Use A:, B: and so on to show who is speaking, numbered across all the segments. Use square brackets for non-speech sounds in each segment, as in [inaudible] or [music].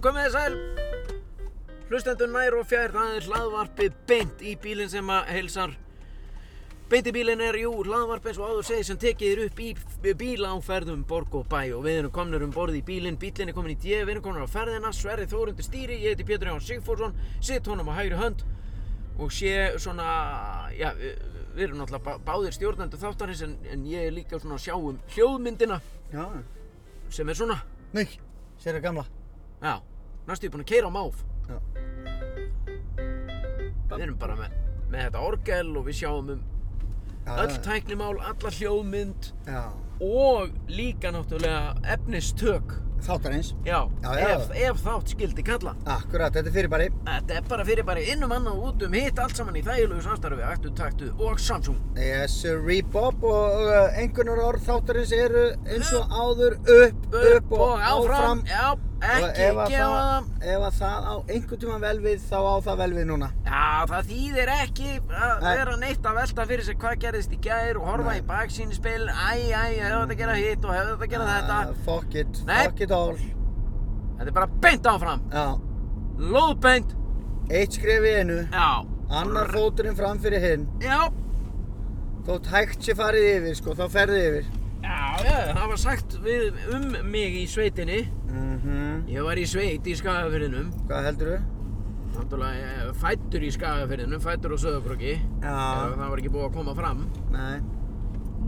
A: komið þið sæl Hlustendur nær og fjær, það er hlaðvarpið beint í bílinn sem að heilsar Beint í bílinn er, jú, hlaðvarp eins og áður segir sem tekið er upp í b- bíla á ferðum borg og bæ og við erum komnir um borð í bílinn, bílinn er komin í dje, við erum komnir á ferðina, Sverri Þórundur stýri, ég heiti Pétur Jón Sigfúrsson, sitt honum á hægri hönd og sé svona, já, við, við erum náttúrulega bá- báðir stjórnendur þáttarins en, en ég er líka svona að sjá um hljóðmyndina
B: Já,
A: sem er svona,
B: nei, sér er gamla.
A: já, næstu búin að keira á máf.
B: Já.
A: Við erum bara með, með þetta orgel og við sjáum um
B: Já,
A: öll
B: já,
A: tæknimál, alla hljóðmynd
B: Já,
A: og líka náttúrulega efnistök.
B: þáttar eins.
A: Já,
B: Já, já.
A: Ef, ef þátt skildi kalla.
B: Akkurat, þetta er fyrirbæri.
A: Þetta er bara fyrir bara innum annað og út um hitt allt saman í þægilegu samstarfi, ættu, taktu og Samsung.
B: Yes, Rebob og uh, einhvernar orð þáttarins eru eins og áður upp, upp og áfram.
A: Já,
B: Og
A: E- ekki
B: ef að
A: gefa það.
B: Ef að það á einhvern tíma vel við, þá á það vel við núna.
A: Já, það þýðir ekki að
B: Nei.
A: vera neitt að velta fyrir sig hvað gerðist í gær og horfa
B: Nei.
A: í baksýnispil, æ, æ, hefðu þetta að gera hitt og hefðu þetta að gera
B: Ah,
A: þetta.
B: fuck it,
A: Nei.
B: fuck it all.
A: Þetta er bara beint áfram,
B: Já,
A: lóðbeint,
B: eitt skref í einu,
A: já,
B: annar fóturinn fram fyrir hinn.
A: já,
B: Þótt hægt sé farið yfir, sko, þá ferði yfir.
A: já, já, það var sagt við, um mig í sveitinni.
B: Mhm,
A: Ég var í sveit í Skagafyrðinum,
B: hvað heldur þú?
A: náttúrulega eh, fæddur í Skagafyrðinum, fæddur á Söðakröki,
B: Já,
A: það var ekki búið að koma fram.
B: nei.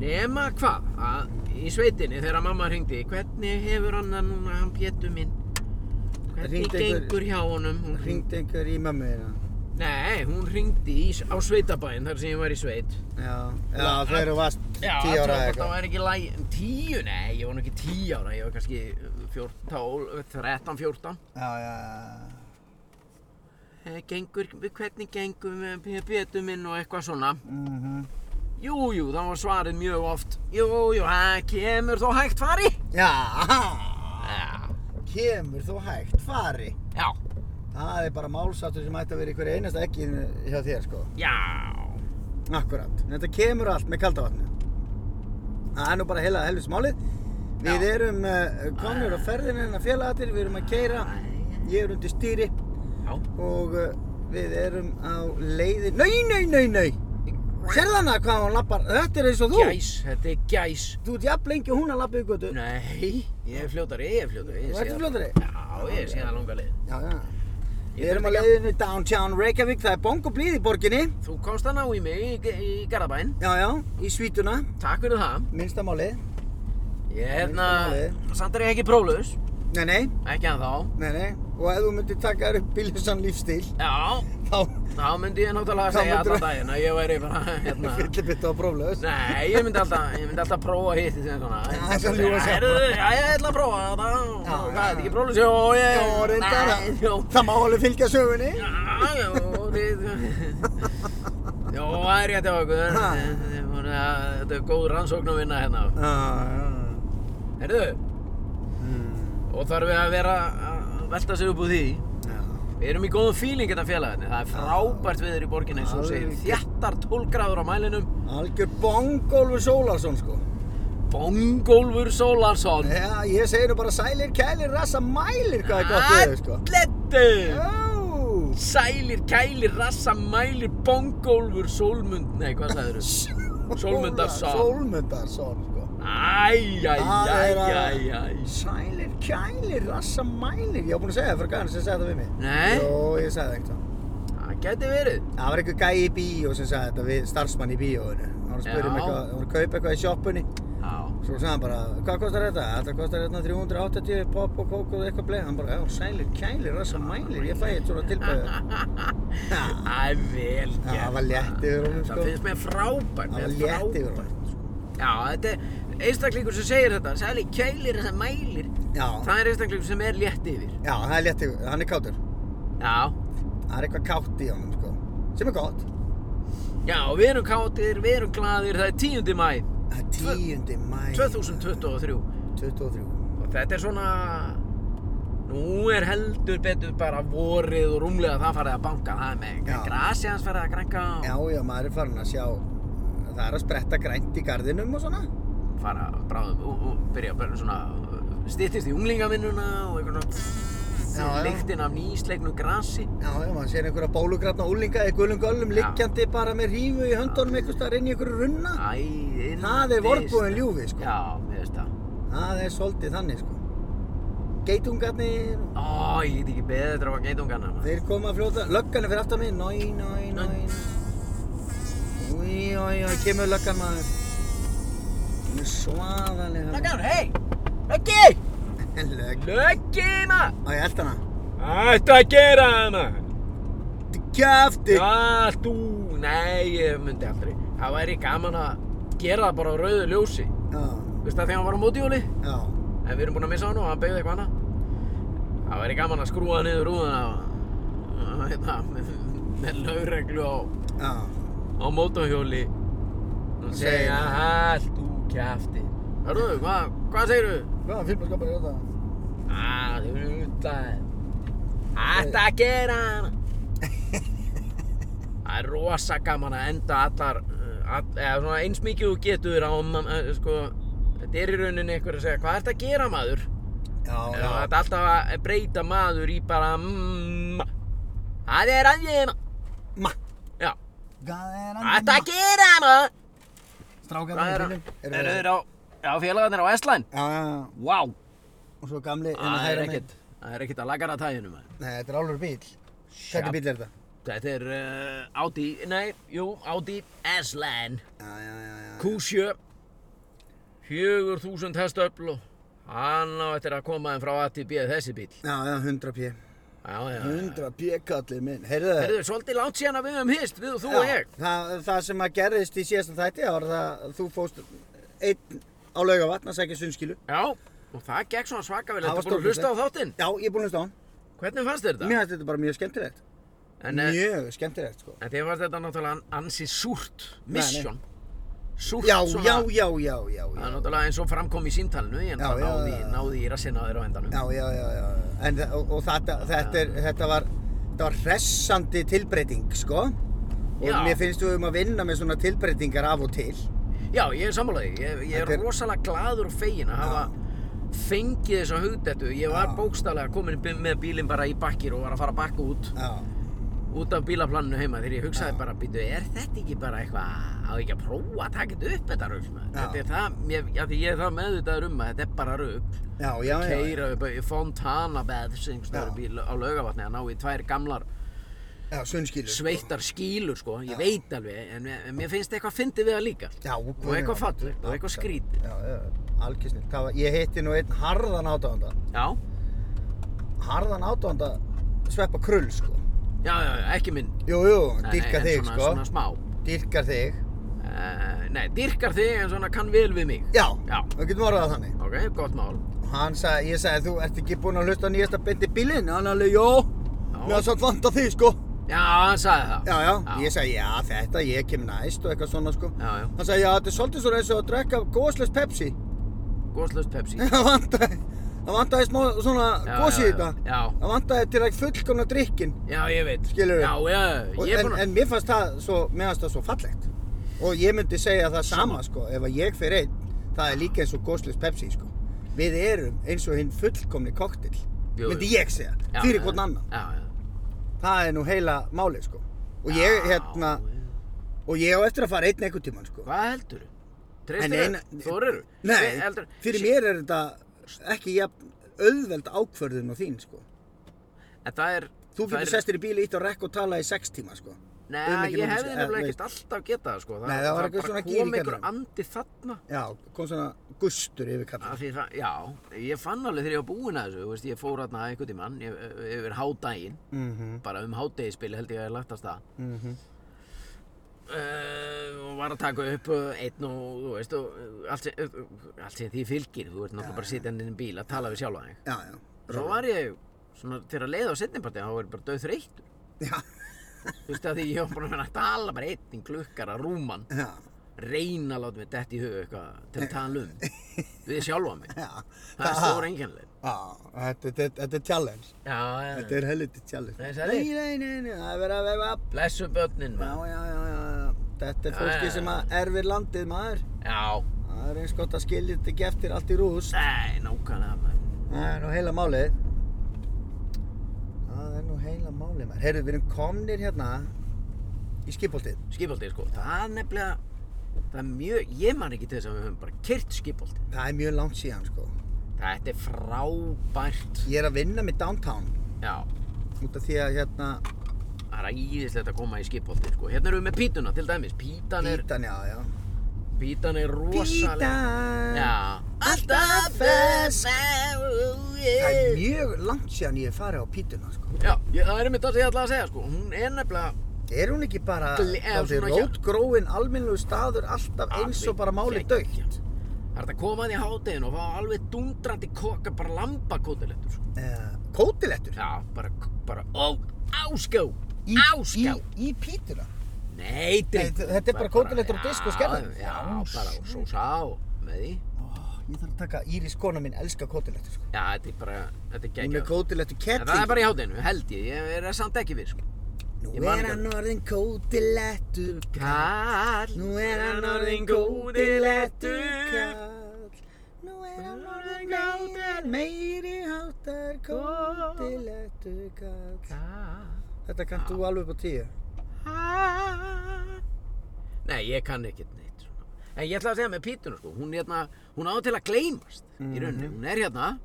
A: Nema hvað, að í sveitinni þegar mamma hringdi, hvernig hefur hann það núna, hann pétu minn? Hvernig
B: Hringdi einhver-
A: gengur hjá honum? Hún hringdi...
B: Hringdi einhver í mömmu þína?
A: Nei, hún hringdi í, á sveitabæinn þar sem ég var í sveit.
B: Já, já
A: Já,
B: þegar þú varst
A: Já,
B: tíu ára eða
A: Það
B: eitthvað.
A: var ekki læg, tíu, nei, ég var nú ekki tíu ára, ég var kannski 14, 13, 14.
B: Já, já, já.
A: Eh, Gengur, hvernig gengur með pétu minn og eitthvað svona.
B: Mhm.
A: Jú, jú, þá var svarið mjög oft, jú, jú, það kemur þó hægt fari.
B: Já,
A: Já,
B: kemur þú hægt, fari.
A: já,
B: Það er bara málsáttur sem ætti að vera í hverju einasta ekkin hjá þér, sko.
A: já.
B: Akkurat. En Þetta kemur allt með kaldavatnu. Það er nú bara heila helvis málið. Við
A: Já.
B: erum uh, konur á ferðinu hennar félagatnir, við erum að keira, ég er undir stýri
A: Já.
B: og uh, við erum á leiði... Nei, nei, nei, nei! Sérðu hana hvað hún lappar? Þetta er eins og þú!
A: Gæs, þetta er gæs.
B: Þú ert jafn lengi og hún að lappa í götu.
A: Nei, ég er fljótari, ég er fljótari. ég
B: Þú
A: sé
B: ert
A: það.
B: fljótari?
A: Já, ég sé það langa leið.
B: Já, já.
A: Ég
B: Við erum á
A: þurfti ekki
B: leiðinu downtown Reykjavík, það er bong og blíð í borginni.
A: Þú komst að ná í mig í, í Garðabæn.
B: Já, já, í svítuna,
A: Takk fyrir það.
B: minnsta málið.
A: Ég er hérna,
B: Minnsta
A: samt er ég ekki próflaus.
B: Nei, nei,
A: Ekki að þá.
B: nei, nei. Og ef þú myndir taka þér upp bílusann lífstíl,
A: Já,
B: þá
A: þá myndi ég náttúrulega
B: Þá
A: að segja
B: myndirðu-
A: alla daginn að ég væri bara, hérna.
B: [laughs] fyllir bytta á próflaus.
A: Nei, ég myndi alltaf, ég myndi alltaf prófa hitt í þessu svona.
B: það er svo ljúga sjálf.
A: Heyrðu, Já, ég ætla að prófa það.
B: Já,
A: Það
B: já.
A: er ekki próflaus. Jó, ég,
B: Já, reyndar.
A: Nei,
B: að-
A: jó.
B: Það má alveg fylgja sögunni.
A: Já, já, þið... Jó, það er rétt hjá okkur.
B: Ha.
A: Þið voru að- Þetta er góð rannsókn að vinna hérna.
B: Já, já.
A: Herðu,
B: Mm,
A: og þarf við að vera að velta sér upp úr því.
B: já.
A: Við erum í góðum fíling þetta félagarni. Það er frábært viður í borginni eins og þú segir.
B: Alveg.
A: Þjattar 12 gráður á mælinum.
B: Algjör bongólfur Sólarsson, sko.
A: Bongólfur Sólarsson.
B: Já, ég segir nú bara sælir, kælir, rassa, mælir hvað er gott við þau, sko.
A: Allettu!
B: Já.
A: Sælir, kælir, rassa, mælir, bongólfur, sólmund... Nei, hvað sagður Sólmundarsson.
B: Sólmundarsson sko.
A: Æj, æj,
B: Það
A: æj,
B: er að-
A: æj, æj.
B: Sælir, kælir, rassa mælir Ég var búinn að segja það fyrir gæðan sem sagði það við mig
A: Nei?
B: Jó, ég sagði það eitthvað
A: Það gæti verið.
B: Það var einhver gæi í bíó sem sagði þetta við starfsmann í bíóinu Það var að spyrja um
A: Já.
B: eitthvað, það var að kaupa eitthvað í sjoppunni
A: Já. [laughs]
B: Svo sagði hann bara, hvað kostar þetta? Þetta kostar hérna 380 pop og kók og eitthvað bleið Hann bara, já, sælir, kælir, rassa mælir Ég fæ eitt svona
A: [laughs]
B: tilbæðið
A: Það er vel gert.
B: Það var létt yfir honum
A: Það
B: sko
A: finnst mér frábært.
B: Það var
A: mér
B: létt yfir
A: frábært.
B: honum sko.
A: Já, þetta er einstaklingur sem segir þetta. Sælir, kælir, rassa, mælir.
B: Já,
A: Það er einstaklingur sem er létt yfir.
B: já, það er létt yfir, hann er kátur
A: Já.
B: Það er eitthvað kátt í honum sko Sem er gott
A: Já, við erum kátir, við erum gladir. Það er 10. mæ,
B: Það er 10. mæ
A: 2023.
B: 2023
A: Og þetta er svona... Nú er heldur betur bara vorið og rúmlega það farið að banka. Það er með
B: Já.
A: grasi hans farið að grænka og
B: Já, já, maður er farin að sjá Það er að spretta grænt í gardinum og svona
A: uh, fara bráðum og, og byrja bara svona stýttist í unglingavinnuna og eitthvað svona
B: Já, já.
A: lyktin af nýsleiknu grasi.
B: Já, já, maður sér einhverja bólugratna úlinga í gulum göllum
A: Já.
B: liggjandi bara með hrífu í höndunum einhvers staðar inn í einhverju runna.
A: Æ, yndist.
B: Það er vorbúðin ljúfið, sko.
A: Já, mér veist það.
B: Það er svolítið þannig, sko. Geitungarnir,
A: Ó, ég get ekki beðið þetta á geitungana. maður.
B: þeir koma að fljóta. Löggan er fyrir aftan mig. Nói, nói,
A: Nói.
B: nói, nói. Úi, oi, oi, kemur löggan maður. Hún er svaðalega.
A: Löggan, hei! Löggi!
B: Löggan! Löggan!
A: Löggi, maður!
B: Á, ég elda hana.
A: Ættu að gera það, maður!
B: Kjafti!
A: Já, þú, nei, ég myndi aldrei. Það væri gaman að gera það bara á rauðu ljósi.
B: Já,
A: Veist það þegar hann var á mótjóli?
B: já.
A: En við erum búin að missa hann og hann beigði eitthvað annað. Það væri gaman að skrúa niður rúðuna og hérna, með, með lögreglu á,
B: Já,
A: á mótóhjóli og segja allt úr kjafti. Hörðu, hvað, hvað segirðu?
B: hvaða fylgbarskapar er þetta?
A: Ah, þau eru út að... Ætta að gera hana! [laughs] Það er rosa gaman að enda allar, uh, all, eða svona eins mikið þú getur á, um, uh, sko, þetta er í rauninni einhver að segja, hvað ert að gera maður?
B: Já,
A: Já.
B: já.
A: Það er alltaf að breyta maður í bara, mmm, það er að gera,
B: Ma!
A: já,
B: Hvað er hann?
A: ætta að gera maður! Hvað er
B: Strákarnir
A: að,
B: í bílnum.
A: eru þeir á, já félagarnir á Eslæn,
B: Já, já, já.
A: vá, wow.
B: Og svo gamli hérna
A: það Ah, er
B: hægra megin.
A: ekkert, það er ekkert að lagara tæðinu maður.
B: Nei, þetta er álur bíl. Hvernig bíl er þetta?
A: Þetta er uh, Audi, nei, jú, Audi S-Line
B: Já, já, já, já.
A: Q7 4000 hestöfl og hann á eftir að koma þeim frá A til B þessi bíl
B: Já, já, 100 p.
A: Já, já, já
B: 100 p kallið minn. Heyrðu það?
A: Þetta er svolítið langt síðan að við höfum hist, við og þú og ég
B: Það, það sem að gerðist í síðasta þætti það var það að þú fóst einn á laugavatn að segja sunnskilu.
A: Já, og það gekk svona svaka vel
B: Það
A: Þetta
B: var
A: búin að hlusta á þáttinn
B: Já, ég er búinn að hlusta á hann.
A: Hvernig fannst þér þetta?
B: Mér finnst þetta bara mjög skemmtilegt.
A: En, eh,
B: mjög skemmtilegt, sko.
A: en þér fannst þetta náttúrulega ansi súrt Mission Súrt
B: Já,
A: svona
B: já, já, já, já,
A: Það er
B: já.
A: náttúrulega eins og framkom í símtalinu En
B: Já,
A: það
B: já,
A: náði,
B: já.
A: náði í rassinn á þér á endanum
B: Já, já, já, já. En, þa- og, og þetta, þetta, er, þetta var, þetta var hressandi tilbreyting, sko. Og
A: Já.
B: mér finnst við um að vinna með svona tilbreytingar af og til.
A: Já, ég er sammálaði. Ég, ég er
B: Þetta er-
A: rosalega gladur og fegin að hafa fengið þessa hugdettu. Ég var
B: Já.
A: bókstaflega komin b- með bílinn bara í bakkir og var að fara að bakka út,
B: Já.
A: út af bílaplaninu heima þegar ég hugsaði bara, býtu, er þetta ekki bara eitthvað, á ekki að prófa að taka þetta upp þetta rugg, maður?
B: Já.
A: Þetta er það, mér, já, því ég er það meðvitaður um að þetta er bara rugg.
B: Já, já, já.
A: Keira upp í Fontana Baths, einhvers
B: Já.
A: stöður bíl á laugavatni að ná í tvær gamlar
B: Já, sunnskilur. sko.
A: sveittar skílur, sko, ég
B: Já.
A: veit alveg, en mér, en mér finnst eitthvað fyndið við það líka.
B: Já,
A: Og eitthvað fallegt og eitthvað skrítið.
B: Já, já, algjörsnill. Það var, ég hitti nú einn harðan átáðanda.
A: Já,
B: Harðan átáðanda sveppa krull, sko.
A: já, já, já, ekki minn.
B: Jú, jú,
A: Nei,
B: dýrkar
A: en
B: þig,
A: svona,
B: sko.
A: Svona smá.
B: Dýrkar þig.
A: Uh, nei, dyrkar þig en svona kann vel við mig.
B: Já,
A: Já.
B: við getum orðað það þannig.
A: Ok, gott mál.
B: Hann sagði, ég sagði, þú ert ekki búinn að hlusta á nýjasta beint í bílinn? Hann alveg, jó,
A: Já.
B: mér er satt vant að þig, sko.
A: Já, hann sagði það.
B: Já, já,
A: Já.
B: ég sagði, já, þetta, ég kem næst og eitthvað svona, sko.
A: Já, já.
B: Hann sagði, já, þetta er svolítið svo eins og að drekka góðsleis Pepsi. [laughs]
A: Goslaust Pepsi.
B: Það vantaði, það vantaði smá svona
A: Já,
B: gósi í
A: já,
B: þetta.
A: já.
B: Það vantaði til að fullkomna drikkin.
A: Já, ég veit.
B: Skilurðu?
A: Já, já,
B: Og,
A: ég er
B: en,
A: búinn að...
B: en mér fannst það svo, mér fannst það svo fallegt. Og ég myndi segja það sama, sko, ef að ég fer einn, það er líka eins og góslis Pepsi, sko. Við erum eins og hinn fullkomni koktill,
A: Jú,
B: myndi
A: jú.
B: ég segja,
A: Já,
B: fyrir
A: já.
B: hvern annan.
A: Já, já.
B: Það er nú heila málið, sko. Og ég,
A: Já,
B: hérna,
A: já.
B: og ég á eftir að fara einn einhvern tímann, sko.
A: Hvað heldur þú?
B: En
A: Treystir
B: eina-
A: þú? Þorir þú?
B: Nei, fyrir mér er þetta ekki jafn auðveld ákvörðun og þín, sko.
A: En það er...
B: Þú
A: það
B: getur
A: er-
B: sest þér í bíl, ítt á rekk og tala í sex tíma, sko. um
A: Nei,
B: ekki
A: ég
B: nógu-
A: hefði
B: eh,
A: nefnilega
B: veist.
A: ekkert alltaf getað, sko.
B: Nei, það var eitthvað
A: bara
B: svona
A: kom
B: gýring
A: einhver
B: hérna.
A: andi þarna.
B: Já, kom svona gustur yfir kallið.
A: Af Því, það, já, ég fann alveg þegar ég var búinn að þessu, þú veist, ég fór aðna einhvern tímann ég- yfir hádaginn,
B: Mhm,
A: bara um hádegispil held ég að ég lagt að stað
B: mhm.
A: uh, og var að taka upp uh, einn og, þú veist, og uh, allt sem, uh, uh, allt sem því fylgir, þú veist, náttúrulega bara að sitja inn í bíl að tala við sjálfa þig.
B: Já, já.
A: Svo var ég, svona, þegar að leiða á setniparti, þá var ég bara döð þreytt,
B: Já,
A: þú veist, af því ég var búinn að vera að tala bara einn í klukkara rúman,
B: já,
A: reyna að láta mig detti í hug eitthvað til að tala um, við sjálfa mig.
B: já.
A: Það er stór enginlega.
B: Já, þetta, þetta, þetta er challenge.
A: Já, já,
B: Þetta er helviti challenge.
A: Nei, sagði ég.
B: Nei, nei, nei, nei, það er verið að vefa upp.
A: blessu börnin,
B: Já,
A: maður.
B: já, já, já, já. Þetta er
A: Já,
B: fólki
A: já,
B: sem að erfir landið maður.
A: Já,
B: Það er eins gott að skilja þetta ekki eftir allt í rúst.
A: nei, nákvæmlega, maður.
B: Það er nú heila málið. eiginlega málið maður? Herru, við erum komnir hérna í skipoltið.
A: skipaldið sko. Það er nefnilega, það er mjög, ég man ekki til þess að við höfum bara kyrt skipaldið.
B: Það er mjög langt síðan, sko.
A: Þetta er frábært.
B: Ég er að vinna með downtown
A: Já,
B: út af því að hérna
A: það er æðislegt að koma í skipaldið sko. Hérna erum við með pítuna til dæmis. Pítan er,
B: Pítan, já, já.
A: pítan er rosalega.
B: Pítan!
A: Já.
B: Alltaf fersk. Það er
A: mjög.
B: mjög langt síðan ég hef farið á Pítuna, sko.
A: Já, ég, það er mitt að segja alltaf að segja sko. Hún er nefnilega,
B: Er hún ekki bara
A: Gle- eða
B: dálítið
A: svona-
B: rótgróinn, almennilegu staður, alltaf eins og bara málið dögt?
A: það er hægt að koma að því hátegin og fá alveg dundrandi kokka bara lambakótilettur sko.
B: Uh, kótilettur?
A: Já, bara, bara, ó, áskjó,
B: Í, í,
A: áskjó.
B: í Pítuna?
A: Nei, dreng.
B: Nei, þetta er bara kótilettur á disk og skerðar.
A: Já, já,
B: Já,
A: bara og svo sá með því.
B: Ó, ég þarf að taka Íris kona mín elska kótilettur, sko.
A: Já, þetta er bara, þetta er
B: Hún er
A: geggjað.
B: kótilettur
A: En
B: kettling.
A: það er bara í hátinu, held ég, ég er samt ekki við, sko.
B: Nú
A: Ég man
B: er
A: ekki
B: hann orðin kótilettur kall.
A: Kall,
B: Nú er hann orðin kótilettur kall. Nú er hann orðin kótilettur meiri hátar kótilettur kall.
A: Kall.
B: Þetta kannt þú alveg upp á tíu.
A: Nei, ég kann ekkert neitt svona. En ég ætla að segja með pítuna, sko, hún er hérna, hún á til að gleymast
B: Mhm.
A: í rauninni. Hún er hérna,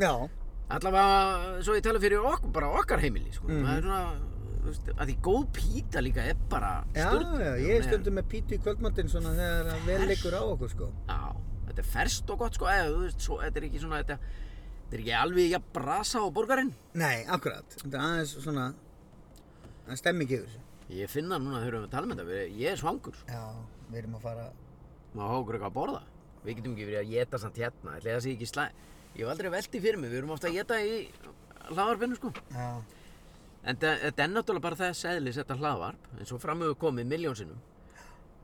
B: Já,
A: allavega, svo ég tala fyrir okkur, bara okkar heimili, sko.
B: Mhm.
A: Það er svona, þú veist, að því góð píta líka er bara
B: já,
A: sturluð.
B: já,
A: Hún er-
B: ég er stundum með pítu í kvöldmattinn svona þegar að vel liggur á okkur sko.
A: Já, þetta er ferskt og gott sko, eða þú veist, svo, þetta er ekki svona, þetta, þetta er ekki alveg að brasa á borgarinn.
B: Nei, akkurat. Þetta er aðeins svona, það er stemming yfir þessu.
A: Ég finna núna þegar við erum að tala með þetta, við- ég er svangur, sko.
B: Já, við erum að fara,
A: Má hafa okkur eitthvað að borða. Við getum ekki verið að geta samt hérna, ætli það sé ekki slæ... Ég hef aldrei velti fyrir mig, við erum ofta að geta í hlaðvarpinu sko.
B: já,
A: En þe- þetta er náttúrulega bara þess eðlis þetta hlaðvarp, eins og framöfu komið miljónsinnum.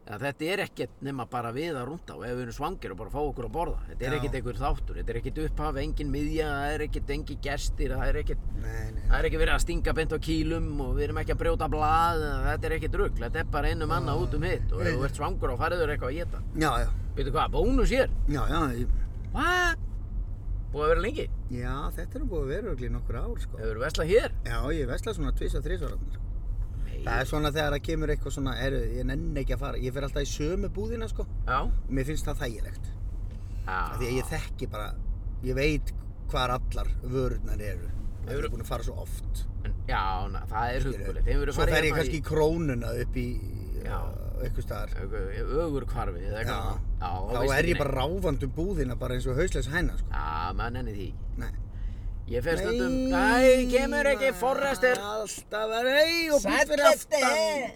A: Að þetta er ekkert nema bara við að rúnda og ef við erum svangir og bara fá okkur að borða. Þetta er
B: Já.
A: ekkert einhver þáttur, þetta er ekkert upphaf, engin miðja, það er ekkert engin gestir, það er ekkert
B: nei, nei.
A: Það er ekki verið að stinga beint á kýlum og við erum ekki að brjóta blað, þetta er ekki drugg, þetta er bara einum annað út um hitt og ef þú ert svangur og fariður eitthvað að geta.
B: Já, já,
A: Veitu hvað, bónus hér?
B: já, já, ég...
A: What? Búið að vera lengi?
B: Já, þetta er nú búið að vera örugglega í nokkur ár sko.
A: Hefur verið veslað hér?
B: Já, ég vesla svona tvís og þrís ára. Sko.
A: Nei.
B: Það er svona þegar það kemur eitthvað svona, eru, ég nenni ekki að fara. Ég fer alltaf í sömu búðina sko.
A: Já.
B: Mér finnst það þægilegt. Af því að
A: Ah.
B: ég þekki bara, ég veit hvar allar vörurnar eru. Það
A: Hefurðu-
B: eru búin að fara svo oft.
A: En, já, na, það er hugulegt. Þeim hérna verið
B: Svo fer ég kannski í krónuna upp í
A: Já.
B: uh, einhver staðar.
A: Ögur hvarfi eða
B: Já.
A: eitthvað. þá
B: Þá
A: veistu
B: er
A: ekki
B: ég bara ráfandi um búðina bara eins og hausleis hæna sko.
A: neitt. Já, mann enni því.
B: Nei.
A: Ég fer stundum... Nei, kemur ekki, forrestir.
B: Alltaf er, ei, og búð fyrir
A: Sæll,
B: aftan.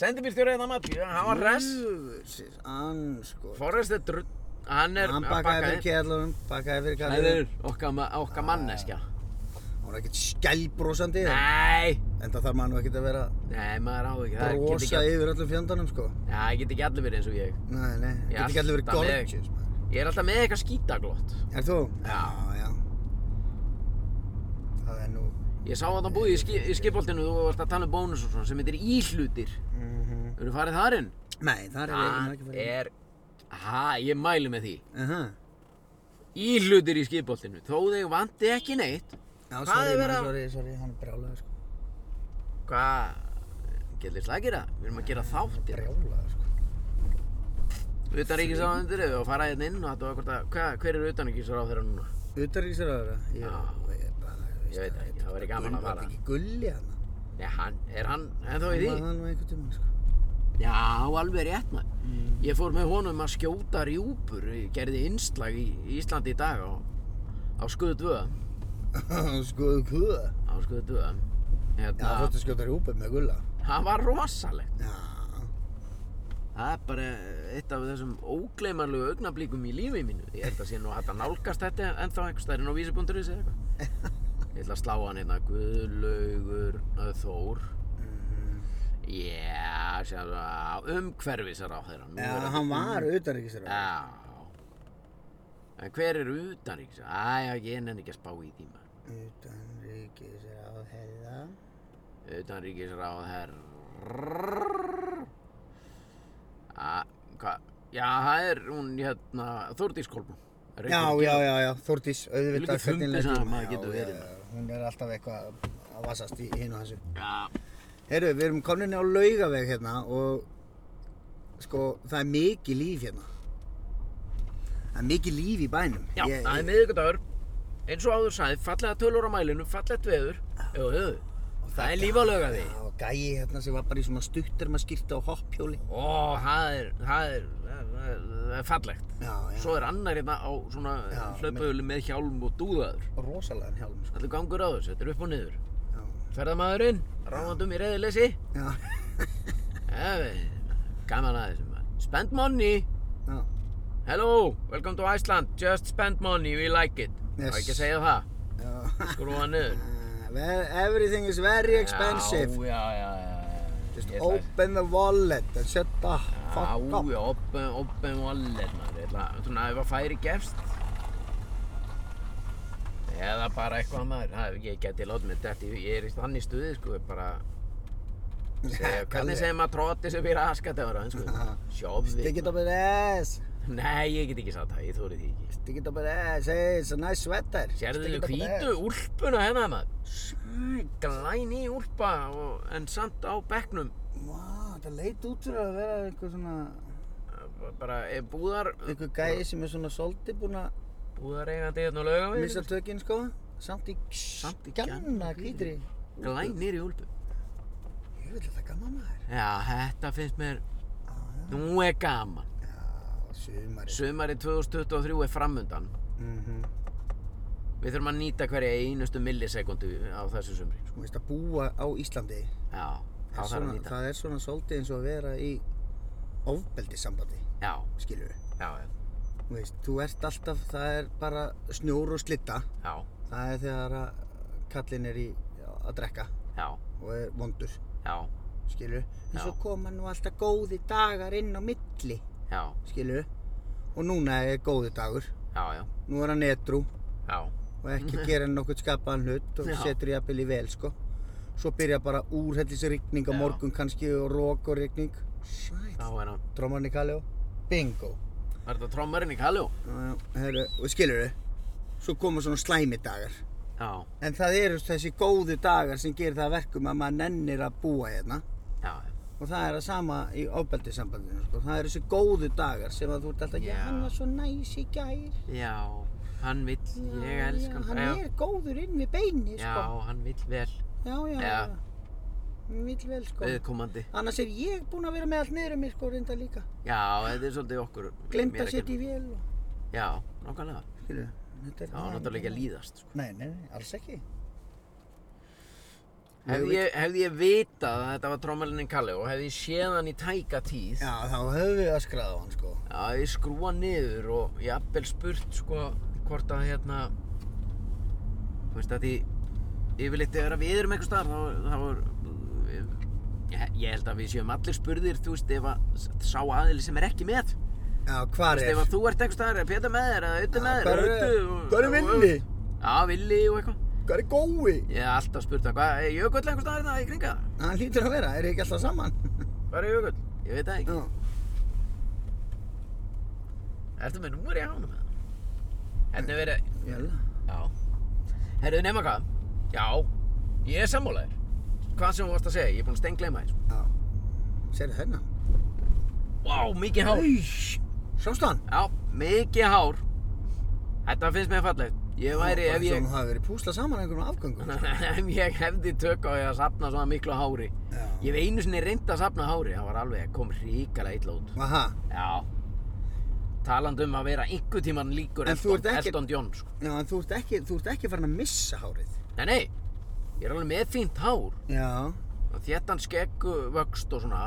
A: Sendibílstjórið það mati, hérna, hann var res.
B: Jöfusins, Hann sko.
A: Forrest er drull... Hann er...
B: Hann bakaði fyrir kjærlunum, bakaði fyrir
A: Það er
B: kjærlunum.
A: okkar, ma- okkar manneskja.
B: Hún er ekkert skælbrósandi, en
A: Nei,
B: það þarf maður nú ekkert að vera
A: nei, maður á ekki. Það get ekki,
B: brosa
A: all-
B: yfir öllum fjandanum sko.
A: Já, það get ekki allir verið eins og ég.
B: Nei, nei,
A: Ég
B: getur ekki allir verið
A: alltaf með-
B: gorgeous. maður.
A: Ég er alltaf með eitthvað skítaglott.
B: Er þú?
A: Já.
B: já. Það er nú...
A: Ég sá að það búið í, ski, í skipoltinu, þú varst að tala um bónus og svona, sem heitir íhlutir.
B: mhm.
A: Þú eru farið þar inn?
B: Nei, það er eiginlega ekki að
A: Það
B: fara í.
A: er, ha, ég mælu með því.
B: Aha.
A: Íhlutir í skipoltinu, þó þig vanti ekki neitt.
B: Já,
A: Hvað
B: sorry,
A: er verið
B: maður,
A: að-
B: sorry, sorry, hann er brjálaður sko.
A: Hvað, getur slækir það? Við erum að gera hérna. þáttir.
B: Brjálaður sko.
A: Utaríkisáðundir, ef við fara hérna inn og þetta var hvort að, hvað, hver er utaríkisáðundir núna?
B: Utaríksraðara?
A: Já.
B: Ég, bara,
A: Ég veit það ekki, það væri gaman að
B: Gull- var
A: fara.
B: ekki gulli hann.
A: Nei, hann, er hann ennþá í
B: Hann
A: því?
B: var það nú einhvern tímann sko.
A: Já, alveg rétt maður. Ég fór með honum að skjóta rjúpur, ég gerði innslag í í Íslandi í dag á, á Skuðu 2. Mm.
B: [laughs] skoðu kuða
A: Á Skuðu 2.
B: Já, þú
A: Hérna,
B: fórstu að skjóta rjúpur með gulla
A: það var rosalegt.
B: Já,
A: Það er bara eitt af þessum ógleymarlegu augnablíkum í lífið mínu. Ég held að sé nú hægt að nálgast þetta ennþá einhvers staðar inn á vísi.is
B: [laughs]
A: eða eitthvað. Ég ætla að slá hann hérna, Guðlaugur uh, Þór.
B: Mhm.
A: Já, sjáðu að umhverfisar á þeirra.
B: Já hann var utanríkisraður
A: Já. En hver er utanríks? Æja, ég nenni ekki að spá í tíma.
B: Utanríkisraður heila
A: Utanríkisráð herr... Æ, hvað? Ah, Já, það er hún hérna, Þórdís Kolbrún.
B: Já, já, já, já, Þórdís,
A: Ég líka
B: auðvitað
A: þumbi
B: hvernig
A: sem
B: lendir
A: maður
B: Já,
A: getur
B: já,
A: verið
B: já,
A: með.
B: hún er alltaf eitthvað að vasast í hinn og þessu.
A: Já,
B: Herru, við erum komin á laugaveg hérna og sko, það er mikið líf hérna. Það er mikið líf í bænum.
A: já, það er miðvikudagur eins og áður sæði, fallega tölur á mælinu fallegt veður, jú, jú
B: Og
A: það er líf á laugaði
B: Já, og gæi hérna sem var bara í svona stuttur maður skilta á hoppjóli.
A: Ó, það er, það er, það er, það er fallegt
B: Já, já.
A: Svo er annar hérna á svona
B: Já,
A: hlaupahjóli með hjálm og dúðaður
B: Rosalega hjálm, sko.
A: Það er gangur á þessu, þetta er upp og niður
B: Já.
A: Ferðamaðurinn, ráðandum í reyðilesi
B: Já. [laughs]
A: Gaman að þessu maður Spend money,
B: já.
A: hello, welcome to Iceland Just spend money, we like it Það
B: Yes.
A: er ekki að segja það,
B: já. [laughs]
A: skrúa niður
B: Uh, well, Everything is very expensive.
A: Sko, Já, já, já, já
B: Just
A: Ég ætla að-
B: open the wallet and shut the fuck up.
A: Já, já, open, open wallet maður, ég ætla, svona ef að færi gefst eða bara eitthvað maður, það, ég geti látið mig þetta, ég, ég er í þannig stuði sko, ég bara
B: [laughs]
A: segja,
B: Kalli.
A: hvernig segir maður tróttis upp í raskatöfara,
B: [laughs]
A: sko, sjófið
B: Stick it up his ass.
A: Nei, ég get ekki sagt það, ég þóri því ekki
B: Stick it up his ass. Hey, it's a nice sweater.
A: Sérðu
B: Stick it up his
A: hvítu úlpuna hérna maður, glæni úlpa og, en samt á bekknum
B: ass. Vá, þetta leit út fyrir að vera einhver svona,
A: bara eh, búðar,
B: einhver gæi sem er svona svolítið búinn að
A: búðar eigandi hérna á lauga
B: missa tökinn sko. Samt í,
A: Samt í
B: gjanna
A: gjanna
B: hvítri.
A: glænir í úlpu
B: Ég vil þetta gaman maður.
A: Já, þetta finnst mér,
B: Já, já.
A: nú er gaman.
B: Já, sumarið.
A: Sumari 2023 er framundan.
B: Mhm.
A: Við þurfum að nýta hverja einustu millisekundu á þessu sumri. sko.
B: Þú veist að búa á Íslandi.
A: Já, þá
B: er
A: þarf að
B: svona,
A: nýta.
B: það er svona svolítið eins og að vera í ofbeldissambandi,
A: Já,
B: skilur við.
A: já, já,
B: Þú veist, þú ert alltaf, það er bara snjór og slitta.
A: já,
B: Það er þegar að kallinn er í að drekka
A: já,
B: og er vondur,
A: já,
B: skilur En
A: Já.
B: svo koma nú alltaf góði dagar inn á milli,
A: já,
B: skilur Og núna er góði dagur.
A: já, já,
B: Nú er hann edru
A: já,
B: og ekki að gera nokkuð skapaðan hlut og
A: Já.
B: setur jafnvel í vel, sko. Svo byrja bara úrhellisrigning
A: Já.
B: á morgun kannski og rók og rigning. Sæt.
A: þá er hann.
B: Trómarni Kaljó. Bingo.
A: Var þetta trommarinn í Kaljó?
B: Já, já, heyrðu, Og skilur Svo koma svona slæmidagar.
A: Já,
B: En það eru þessi góðu dagar sem gerir það að verkum að maður nennir að búa hérna
A: já, já.
B: og það er að sama í ofbeldissambandinu sko. það eru þessi góðu dagar sem að þú ert alltaf
A: Já.
B: já, hann var svo næs í gær já,
A: Já, hann vill, ég elska
B: já, hann er góður inn við beini
A: Já,
B: sko.
A: hann vill vel,
B: já, já,
A: Já.
B: já. Hann vill vel sko
A: viðkomandi.
B: annars er ég búinn að vera með allt niður um mér sko reynda líka
A: Já, þetta er svolítið okkur.
B: glemt
A: mér
B: að
A: kenna.
B: setja í vél og...
A: Já, nákvæmlega.
B: skilur þetta er
A: Það var náttúrulega ekki að líðast, sko.
B: nei, nei, nei, alls ekki
A: Hefði ég, hefði ég vitað að þetta var trommelinin Kalli og hefði ég séð hann í tæka tíð
B: já, þá höfum við öskrað á hann sko
A: að ég skrúa niður og ég appel spurt sko hvort að hérna þú veist að því yfirleitt þegar að við erum einhver staðar þá, þá er ég- ég held að við séum allir spurðir þú veist ef að sá aðili sem er ekki með þú
B: já, hvar
A: veist
B: er
A: ef að þú ert einhver staðar eða Pétur með þér eða auðvitað með þér eða
B: hvar er,
A: Auddi og-
B: hvar er
A: og-
B: vinni
A: Já, villi og eitthvað
B: Hvað er gói?
A: Ég hef alltaf spurt hann hvað, er jökull einhver staðar það í kringa?
B: Hann hlýtur að vera, er ekki alltaf
A: [laughs]
B: saman?
A: Hvað er jökull? Ég veit það ekki
B: Já.
A: Ertu með númur í hánum eða? Hérna er verið...
B: Ég held það.
A: Já. Herðu, nema hvað? Já, ég er sammálaðir. Hvað sem þú varst að segja, ég er búinn að stengleima þér.
B: Já. Serðu þennan?
A: Vá, mikið hár.
B: Sástu hann?
A: Já, mikið hár. Þetta finnst mér fallegt. Ég væri, ef
B: Svo
A: ég...
B: hann hafi verið púslað saman einhverjum
A: [laughs]
B: afgöngum.
A: ef ég hefði tök á því að sapna svona miklu hári.
B: sko. Já.
A: Ég hef einu sinni reynd að sapna hári, það var alveg, kom ríkala illa út.
B: Aha.
A: Já. Talandi um að vera einhver tíman líkur
B: En þú
A: Elton,
B: ert ekkert-
A: Elton John, sko.
B: Já, en þú ert ekki, þú ert ekki farin að missa hárið.
A: Nei, nei, ég er alveg með fínt hár.
B: Já.
A: Þéttan skegg vöxt og svona,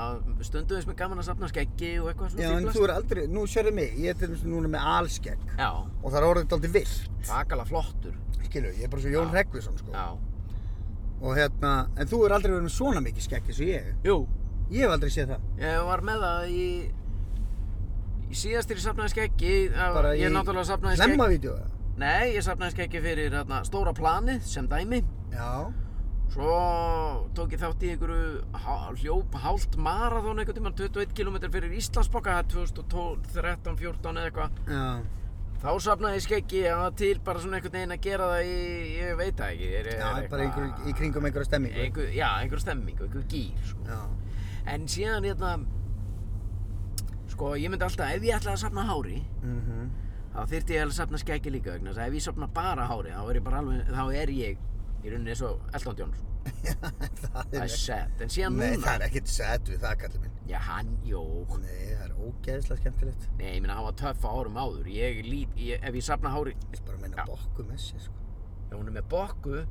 A: stundu þess með gaman að safna skeggi og eitthvað svona
B: Já, en
A: fíblast.
B: þú er aldrei, nú sérðu mig, ég er til dæmis núna með alskegg.
A: Já,
B: Og það er orðið aldrei vilt.
A: svakalega flottur.
B: Skilu, ég er bara svo Jón
A: Já.
B: Hreggvísson, sko.
A: Já.
B: Og hérna, en þú er aldrei verið með svona mikið skegg eins og ég.
A: Jú,
B: Ég hef aldrei séð það.
A: ég var með það í, í síðastir ég safnaði skeggi, það-
B: Bara
A: ég
B: í
A: náttúrulega safnaði skeggi.
B: Hlemmavídeóið.
A: Nei, ég safnaði skeggi fyrir hérna, stóra planið sem dæmi.
B: Já.
A: Svo tók ég þátt í einhverju há- hljóp hálft marathón einhvern tímann 21 km fyrir Íslandsboka 2012, 13, 14 eða eitthvað.
B: Já.
A: Þá safnaði ég skeggi að til bara svona einhvern veginn að gera það í, ég veit það ekki. Er,
B: Já,
A: er
B: bara einhver, í kringum einhverja stemmingu.
A: Einhver, já, einhver stemming, einhver gýr, sko.
B: Já,
A: En síðan, hérna, sko, ég myndi alltaf, ef ég ætlaði að safna hári,
B: mhm, [laughs]
A: þá þyrfti ég að safna skeggi líka vegna þess að ef ég safna bara hári, þá er ég bara alveg, þá er ég í rauninni eins og Elton John, sko.
B: það
A: Það
B: er
A: er sad. En síðan
B: Nei,
A: núna,
B: það er ekkert sett við það, kallið minn.
A: já, hann, jó,
B: Nei, það er ógeðslega skemmtilegt.
A: nei, ég meina, hann var töff á árum áður. Ég lít, ég, ef ég safna hári,
B: Ég vil bara
A: Já.
B: meina bokku með sér, sko.
A: Já, hún er með bokku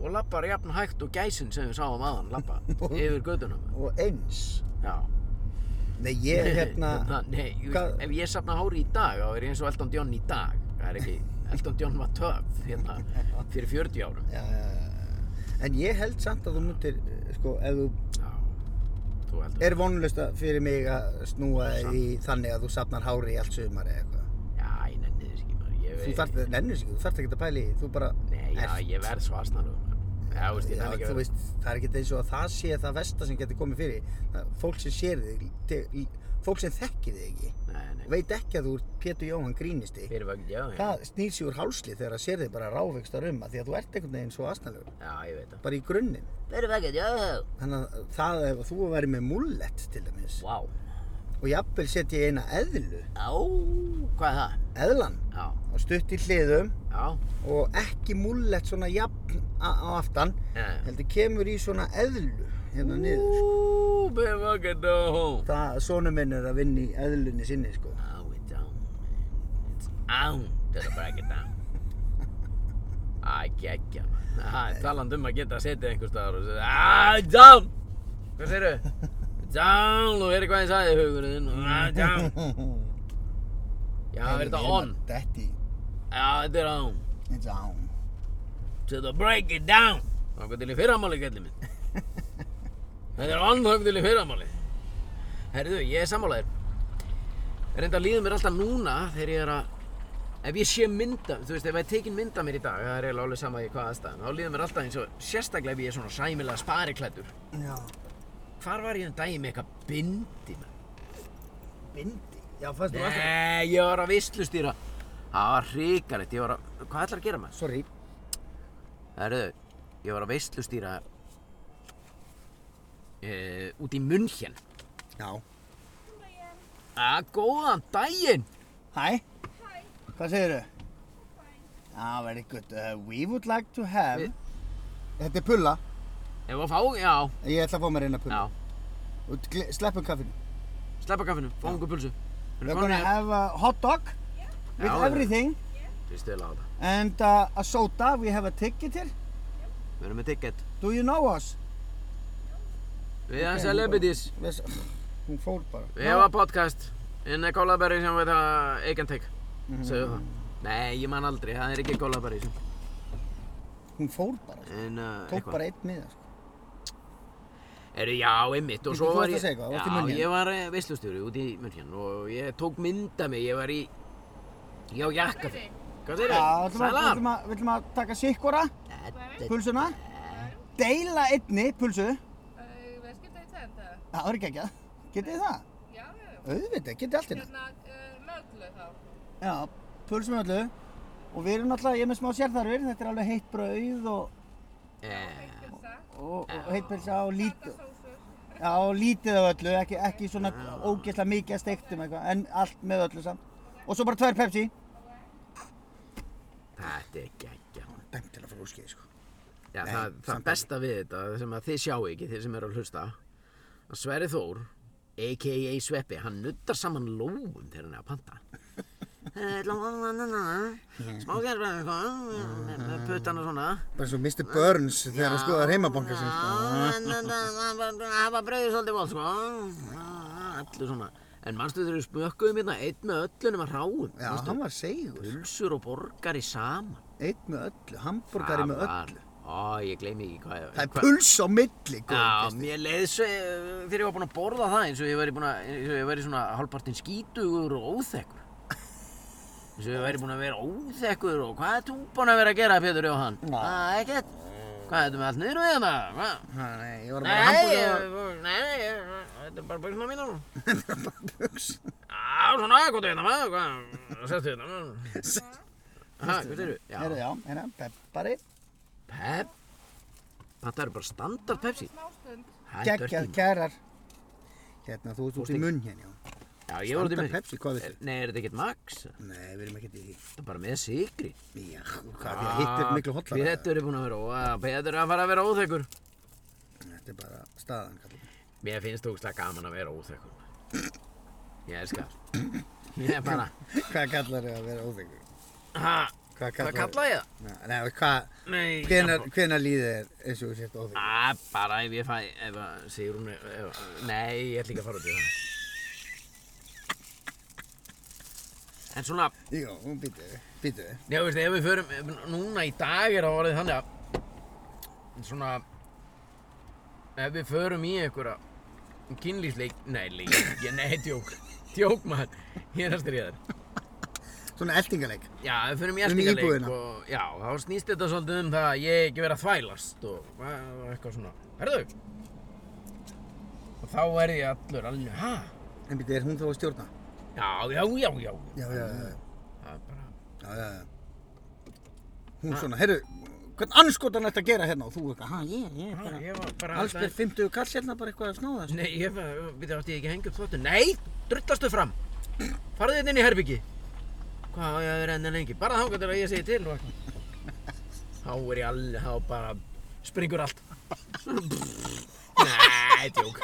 A: og lappar jafn hægt og gæsin sem við sáum aðan
B: [laughs]
A: lappa yfir gödunum.
B: Og eins.
A: Já.
B: Nei, ég hérna...
A: Nei, ég,
B: hvað-
A: ef ég safna hári í dag, þá er ég eins og Elton John í dag. Það er ekki,
B: [laughs]
A: Elton John var töf hérna fyrir 40 árum.
B: Já, já, já. En ég held samt að þú myndir, eh, sko, ef þú
A: Já, þú heldur.
B: er vonlust fyrir mig að snúa þér í þannig að þú safnar hári í allt sumar eða eitthvað.
A: Já, ég nenni þess ekki maður. Ég,
B: Þú þarft, nennir sér, þú þarft ekki að pæla í, því, þú bara...
A: Nei, já,
B: ert.
A: ég verð svo aðsnarum. Já, veist, ég
B: Já,
A: nenni ekki
B: þú
A: að...
B: veist, það er ekkert eins og að það sé það versta sem getur komið fyrir. Það, fólk sem sér þig, te- fólk sem þekkir þig ekki,
A: Nei, nei,
B: veit ekki að þú ert Pétur Jóhann grínisti.
A: fyrir vögn, já, já.
B: Það snýr sér úr hálsli þegar það sér þig bara rávegstar um að því að þú ert einhvern veginn svo aðstæðlegur,
A: Já, ég veit það.
B: bara í grunninn.
A: Fyrir vögn, já, já.
B: Þannig að það ef þú væri með mullett til dæmis
A: Vá,
B: og jafnvel setja eina eðlu,
A: á, hvað er það?
B: eðlan,
A: Já,
B: og stutt í hliðum
A: já,
B: og ekki mullett svona jafn a- á aftan,
A: já.
B: heldur kemur í svona eðlu hérna niður. sko.
A: Ooh, baby, I can go home.
B: Það, sonu minn er að vinna í eðlunni sinni sko.
A: No, it don't. man. It's on to the break it down. Æ, geggja, maður. Það er talandi um að geta að setja einhver staðar og segja Æ, down! Hvað segirðu? Down, og er hvað ég sagði hugurinn þinn. Æ, down.
B: [laughs]
A: Já, er þetta on?
B: Detti,
A: Já, þetta er on.
B: it's on.
A: To the break it down. Þakka til í fyrramáli, gæli minn. [laughs] Þetta er on þakka til í fyrramáli. Herðu, ég er sammálaðir. Reynda líður mér alltaf núna þegar ég er að Ef ég sé mynda, þú veist, ef ég er tekin mynda mér í dag, það er eiginlega alveg sama í hvað aðstæðan, þá líður mér alltaf eins og, sérstaklega ef ég er svona sæmilega spariklættur.
B: Já,
A: Hvar var ég um daginn með eitthvað bindi, menn?
B: bindi. Já, fannst þú aðstæðlegur?
A: Nei, ég var að vislustýra. Það var hrikalegt, ég var að, hvað ætlar að gera maður?
B: Sorry.
A: Herðu, ég var að veislustýra uh, út í München.
B: Já.
A: Að góðan daginn!
B: Hi. Hi. Hvað segir þau? Ah, very good. Uh, we would like to have...
A: Við-
B: Þetta er pulla.
A: Ef að fá, já,
B: Ég ætla að fá mér eina pulla.
A: já,
B: Og gle- Sleppum kaffinu.
A: sleppa kaffinu, fá ungu pulsu.
B: We're gonna have a hot dog with
A: Já, já.
B: everything.
A: Fyrst vel á þetta.
B: And uh, a soda. We have a ticket here.
A: Við erum með ticket.
B: Do you know us?
A: Við erum celebrities.
B: Við- Hún fór bara.
A: Við erum að podcast. Inn er Kólaberry sem við það eigan tek. Segðu það. Nei, ég man aldrei, það er ekki Kólaberry sem.
B: Hún fór bara. sko.
A: En uh,
B: Tók bara einn miða. Sko.
A: Eru, já, einmitt, og
B: Bíddu,
A: svo
B: þú
A: var
B: varst
A: ég...
B: að segja eitthvað, þú varst í
A: Já,
B: München.
A: ég var veistlustjóri út í München og ég tók mynda mig, ég var í... Ég á jakka fyrir. Hvað segir þið?
B: Já, Ah, ætlum að, ætlum að, ætlum að taka sikkora
A: Salam!
B: pulsuna. Deila einni pulsu.
C: Uh, við skiptum í tvenda.
B: Það var ekki ekki að. Getið þið það?
C: Já, já, já.
B: Auðvitað, getið allt hérna.
C: Hérna, uh, möglu þá.
B: Já, pulsum með öllu og við erum náttúrulega, ég er með smá sérþarfir, þetta er alveg heitt brauð og,
A: eh,
C: Pizza,
B: og, og heitt pilsa og lítið,
C: katasósur.
B: já, og lítið af öllu, ekki, ekki svona ógeðslega mikið að steiktum eitthvað, en allt með öllu samt. Og svo bara tvær Pepsi.
A: Þetta er geggja.
B: Dæmt til að fara úrskið, sko.
A: Já, það,
B: Nei,
A: það
B: samt
A: besta við þetta, sem að þið sjáu ekki, þið sem eru að hlusta, að Sverri Þór, a.k.a. Sveppi, hann nuttar saman lófum þegar hann er að
B: [laughs]
A: panta. Eh, lófa, na, na, na, Smá gerðbæði eitthvað, með- með puttana svona.
B: Bara svo Mr. Burns þegar hann skoðar sko. heimabanka sinn,
A: Já, en það var brauðið svolítið vond, sko. Allir svona. En mannstu þegar við spökkuðum hérna einn með öllunum að ráum.
B: Já,
A: manstu?
B: hann var segur.
A: Pulsur og borgari saman.
B: Einn með öllu, hambúrgari með öllu.
A: Ó, ég gleymi ekki hvað.
B: Það er
A: hvað-
B: puls á milli,
A: Já,
B: góður.
A: mér leið svo, eh, þegar ég var búinn að borða það eins og ég væri búinn að, eins og ég væri svona hálfpartinn skítugur og óþekkur. Eins og ég væri búinn að vera óþekkur og hvað er þú búinn að vera að gera, Pétur Jóhann?
B: Nei.
A: Næ, ekkert. Hvað, þetta með allt niður við hérna? Hvað?
B: Nei, ég var bara
A: Nei,
B: hambúrgari
A: ég,
B: [laughs]
A: nei, nei, ég- þetta er bara buksna mínar.
B: og buks.
A: Já, svona, hvað er þetta maður, hvað? Sestu hérna. Aha, hvað segirðu?
B: Heyrðu,
A: Já,
B: já, hérna, peppari,
A: Pep. Þetta eru bara standard Pepsi.
C: Smástund.
A: Það er
B: geggjað
A: dirty.
B: kærar. Hérna, þú ert út í
A: Fórstu-
B: munn hérna, já.
A: Já, ég var út í
B: Standard
A: mér.
B: Pepsi, hvað viltu?
A: Nei, er þetta ekkert Max?
B: Nei, við erum ekkert í því.
A: Þetta er bara með sigri.
B: Já, hvað, því að hitt
A: Ah,
B: er miklu hollara.
A: Pétur er búinn að vera, og Pétur er að fara að vera óþekkur.
B: Þetta er bara staðan, kallum.
A: Mér finnst ógslag gaman að vera óþekkur. Ég elska það. Ég er bara,
B: Hvað kallar þau að vera óþengur?
A: ha,
B: Hvað
A: hvað
B: kallar
A: kalla ég það?
B: Nei, nei, hvað,
A: Nei,
B: hvenar, hvenar líðið er eins og þú sért óþengur?
A: Æ, Ah, bara ef ég fæ, ef að Sigrún, er- ef, nei, ég ætla ekki að fara út í það. En svona,
B: Jó, býtu, býtu.
A: Já, veist, ef við förum, ef, núna í dag er það orðið þannig að, svona, ef við förum í einhverja kynlýsleik, nei, leik, ég, nei, djók, djók maður, ég er að styrja þér.
B: Svona eltingaleik.
A: Já, ef við förum í eltingaleik
B: íbúðina.
A: og, já, þá snýst þetta svolítið um það að ég ekki vera að þvælast og, og eitthvað svona, herðu, og þá er ég allur alveg, ha,
B: En býtu, er hún þá að stjórna?
A: já, já, já, já,
B: Já, já,
A: það
B: já,
A: er bara,
B: já, já, já. Hún svona, heyrðu, hvern anskotan ætti að gera hérna og þú eitthvað, ha, ég, ég,
A: ha,
B: bara,
A: ég var bara,
B: alls byrð 50 kall hérna bara eitthvað að snáða þessu.
A: Nei, ég var, við þátti ég ekki að hengja upp þvottu. Nei, drullastu fram. Farðu hérna inn í herbyggi. Hvað á ég að vera enn lengi? Bara þá til að ég segi til og eitthvað. Þá er ég alveg, þá bara springur allt. Nei, djók.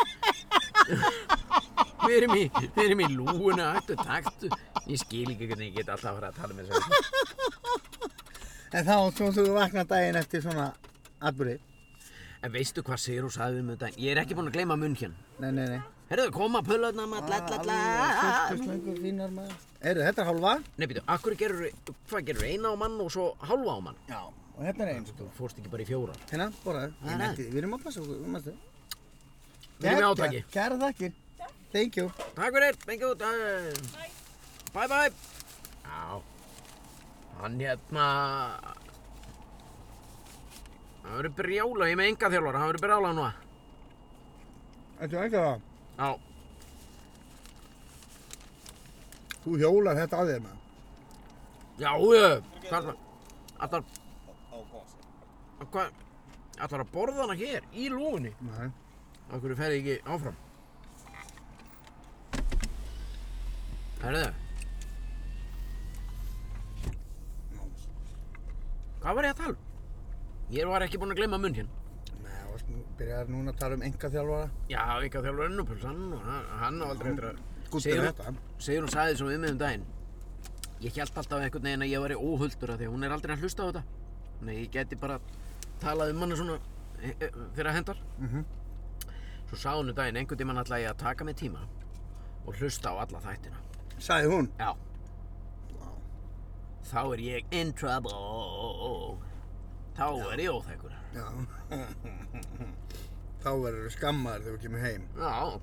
A: Við erum í, við erum í lúuna, ættu, taktu. Ég skil ekki hvernig ég get alltaf að fara að tala með þessu.
B: En þá, svo þú vaknar daginn eftir svona atbyrði.
A: En veistu hvað Sigrú sagði um þetta? Ég er ekki búinn að gleyma munn hérna.
B: Nei, nei, nei.
A: Herðu, koma pölarna,
B: Alveg
A: matlatlalla.
B: fullkustlengur, fínar maður. Heyrðu, þetta er hálfa.
A: Nei, býtu, akkur gerur, hvað gerur eina á mann og svo hálfa á mann?
B: Já. Og hérna er einn, sko.
A: Þú fórst ekki bara í fjórar.
B: Hérna, borðaðu.
A: Nei,
B: Ég
A: nei.
B: nefndi, við erum að passa okkur, við mástu.
A: Við erum í átaki.
B: Kæra þakkir. Thank you.
A: Takk fyrir, thank you, takk. Bye bye. Já, hann hérna, hann verður brjála, ég er með enga þjálfara, hann verður brjála núna.
B: Þetta er ekki það.
A: Já,
B: Þú hjólar þetta að þér maður.
A: já, ég, þarna, allar,
D: á góðs.
A: hvað, allar að borða hana hér, í lúgunni.
B: Nei.
A: Akkur ferði ekki áfram. Herðu. Hvað var ég að tala? um? Ég var ekki búinn að glemma munn hérna.
B: Nei, þú varst nú, byrjar núna að tala um enga þjálfara.
A: Já, ekki að þjálfur ennupulsan og hann- hann á aldrei eftir að...
B: Gúttur
A: Sigrún-
B: þetta.
A: Sigrún sagði svo við mig um daginn. Ég held alltaf einhvern veginn að ég væri óhulltur af því að hún er aldrei að hlusta á þetta. Þannig að ég geti bara talað um hana svona e, e, þegar að hendar.
B: Mhm.
A: Svo sá hún um daginn einhvern tímann ætla ég að taka mig tíma og hlusta á alla þættina.
B: Sagði hún.
A: Já.
B: Vá.
A: Þá er ég in trouble. Þá er ég óþekkur.
B: Já. [laughs] Þá verður þú skammaður þegar þú kemur heim.
A: Já,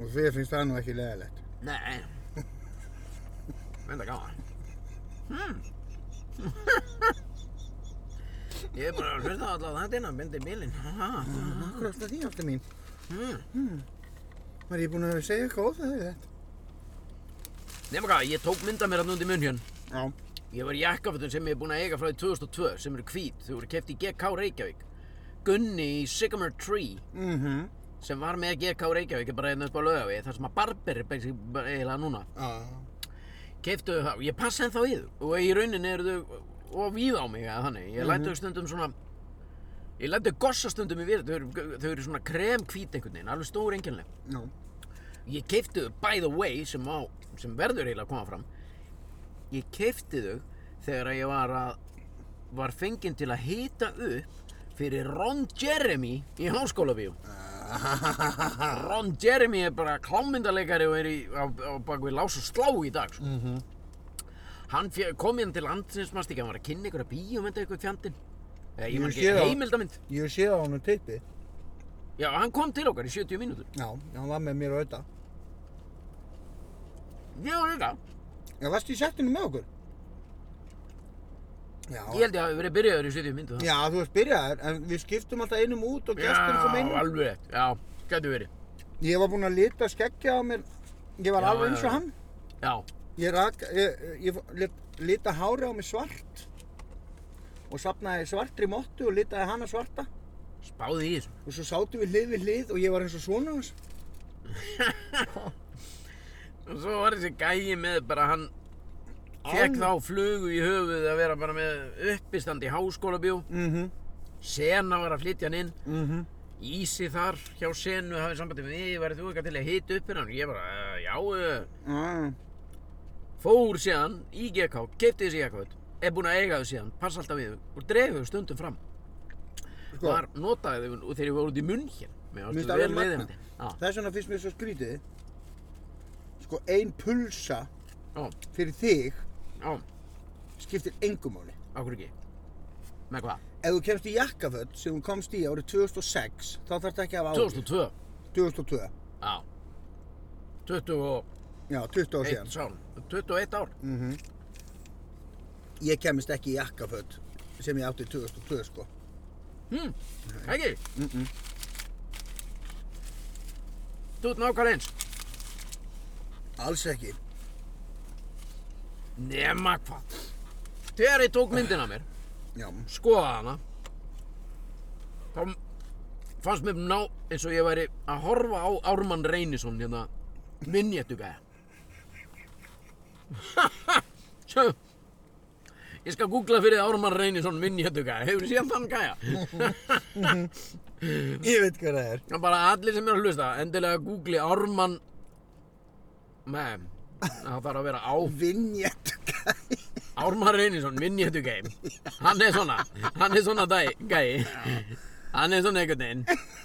B: Og þér finnst það nú ekki leðilegt.
A: nei. Venda gaman. Hmm. ég er bara að hlusta á alla þættina, myndi bílinn. Ha, ha, ha.
B: Akkur ást að því ástu mín.
A: Hmm.
B: Var ég búin að segja eitthvað óþægilegt?
A: Nefna hvað, ég tók mynda mér hann undir munn hérna.
B: Já.
A: Ég var í jakkafötum sem ég er búinn að eiga frá því 2002 sem eru hvít, þau voru keft í GK Reykjavík. Gunni í Sycamore Tree
B: Mhm.
A: sem var með GK Reykjavík er bara hérna upp á lögavi þar sem að barber er basic- bara eiginlega núna.
B: Já.
A: Keftu þau það, ég passa ennþá í þau og í rauninni eru þau of víð á mig eða þannig. Ég læti þau stundum svona, ég læti þau gossa stundum í við, þau eru, þau eru svona kremhvít einhvern veginn, alveg stór enginlega.
B: Já.
A: Ég keipti þau by the way sem, á, sem verður eiginlega að koma fram Ég keipti þau þegar ég var að var fenginn til að hita upp fyrir Ron Jeremy í háskólabíu Ron Jeremy er bara klámyndaleikari og er í, á, á bak við lás og slá í dag sko.
B: Mhm.
A: Hann fjö- kom hérna til landsins mannst ekki, hann var að kynna ykkur að bíum þetta eitthvað fjandinn Eða ég
B: Ég
A: man
B: sé
A: ekki
B: það.
A: heimildamind
B: [laughs] Ég sé það á honum tippi.
A: Já, hann kom til okkar í 70 mínútur
B: Já, hann var með mér á auðvitað.
A: Ég var þetta
B: Já, varstu í settinu með okkur? Já,
A: Ég held ég að við verið byrjaður í 70 mínútur
B: já, þú veist byrjaður, en við skiptum alltaf einum út og gestur kom
A: Já,
B: einum.
A: alveg rétt, já, getur verið
B: Ég var búinn að lita skeggja á mér, ég var
A: Já,
B: alveg
A: já,
B: eins og
A: já.
B: hann.
A: Já,
B: Ég rak, ég, ég lit, lita hári á mig svart og sapnaði svartri mottu og litaði hana svarta
A: Spáði í þessu.
B: og svo sátum við hlið við hlið og ég var eins og svona hans.
A: Og svo var þessi gæi með bara hann fekk þá flugu í höfuð að vera bara með uppistand í háskólabjó.
B: Mhm,
A: Sena var að flytja hann inn.
B: mhm.
A: Ísi þar hjá Senu hafið sambandi með mig, værið þú eitthvað til að hita upp hérna? Og Ég bara, "Eh, já, eh."
B: Já,
A: fór síðan í GK, kefti þessi jakkaföt, er búinn að eiga þau síðan, passa alltaf við þau og dreif þau stundum fram.
B: sko,
A: Var, notaði þau og þegar ég var út í munn hér. Mér
B: Mér
A: fannst
B: finnst
A: þau
B: alveg
A: vel
B: magna.
A: viðeigandi. Já,
B: Það er svona fyrst mér svo skrítið. Sko, ein pulsa
A: já,
B: fyrir þig
A: já,
B: skiptir engum máli.
A: ákveð ekki. Með hvað?
B: Ef þú kemst í jakkaföld sem hún komst í árið 2006, þá þarf þetta ekki að hafa áhrif.
A: 2002,
B: 2002.
A: já. 21
B: Já, 20 ár síðan.
A: sál, 21 ár.
B: Ég kemist ekki í jakkaföld sem ég átti í 2002, sko.
A: Hm, ekki?
B: Mm -mm.
A: Þú ert nákvæmlega eins.
B: Alls ekki.
A: Nema hvað. Þegar ég tók myndina af mér,
B: Já.
A: Mhm. skoðaði hana þá fannst mér ná eins og ég væri að horfa á Ármann Reynisson hérna [laughs] minnjættugæða sjö ég skal googla fyrir þig Ármann Reynisson minnjættugæða hefur séð þann gæja
B: Ég veit hvað það er.
A: bara allir sem er að hlusta endilega googli Ármann með það þarf að vera á
B: Vinjett. [laughs]
A: Ármar Reynisson, minnjættu gæm Hann er svona, hann er svona dæ, gæi Hann er svona einhvern veginn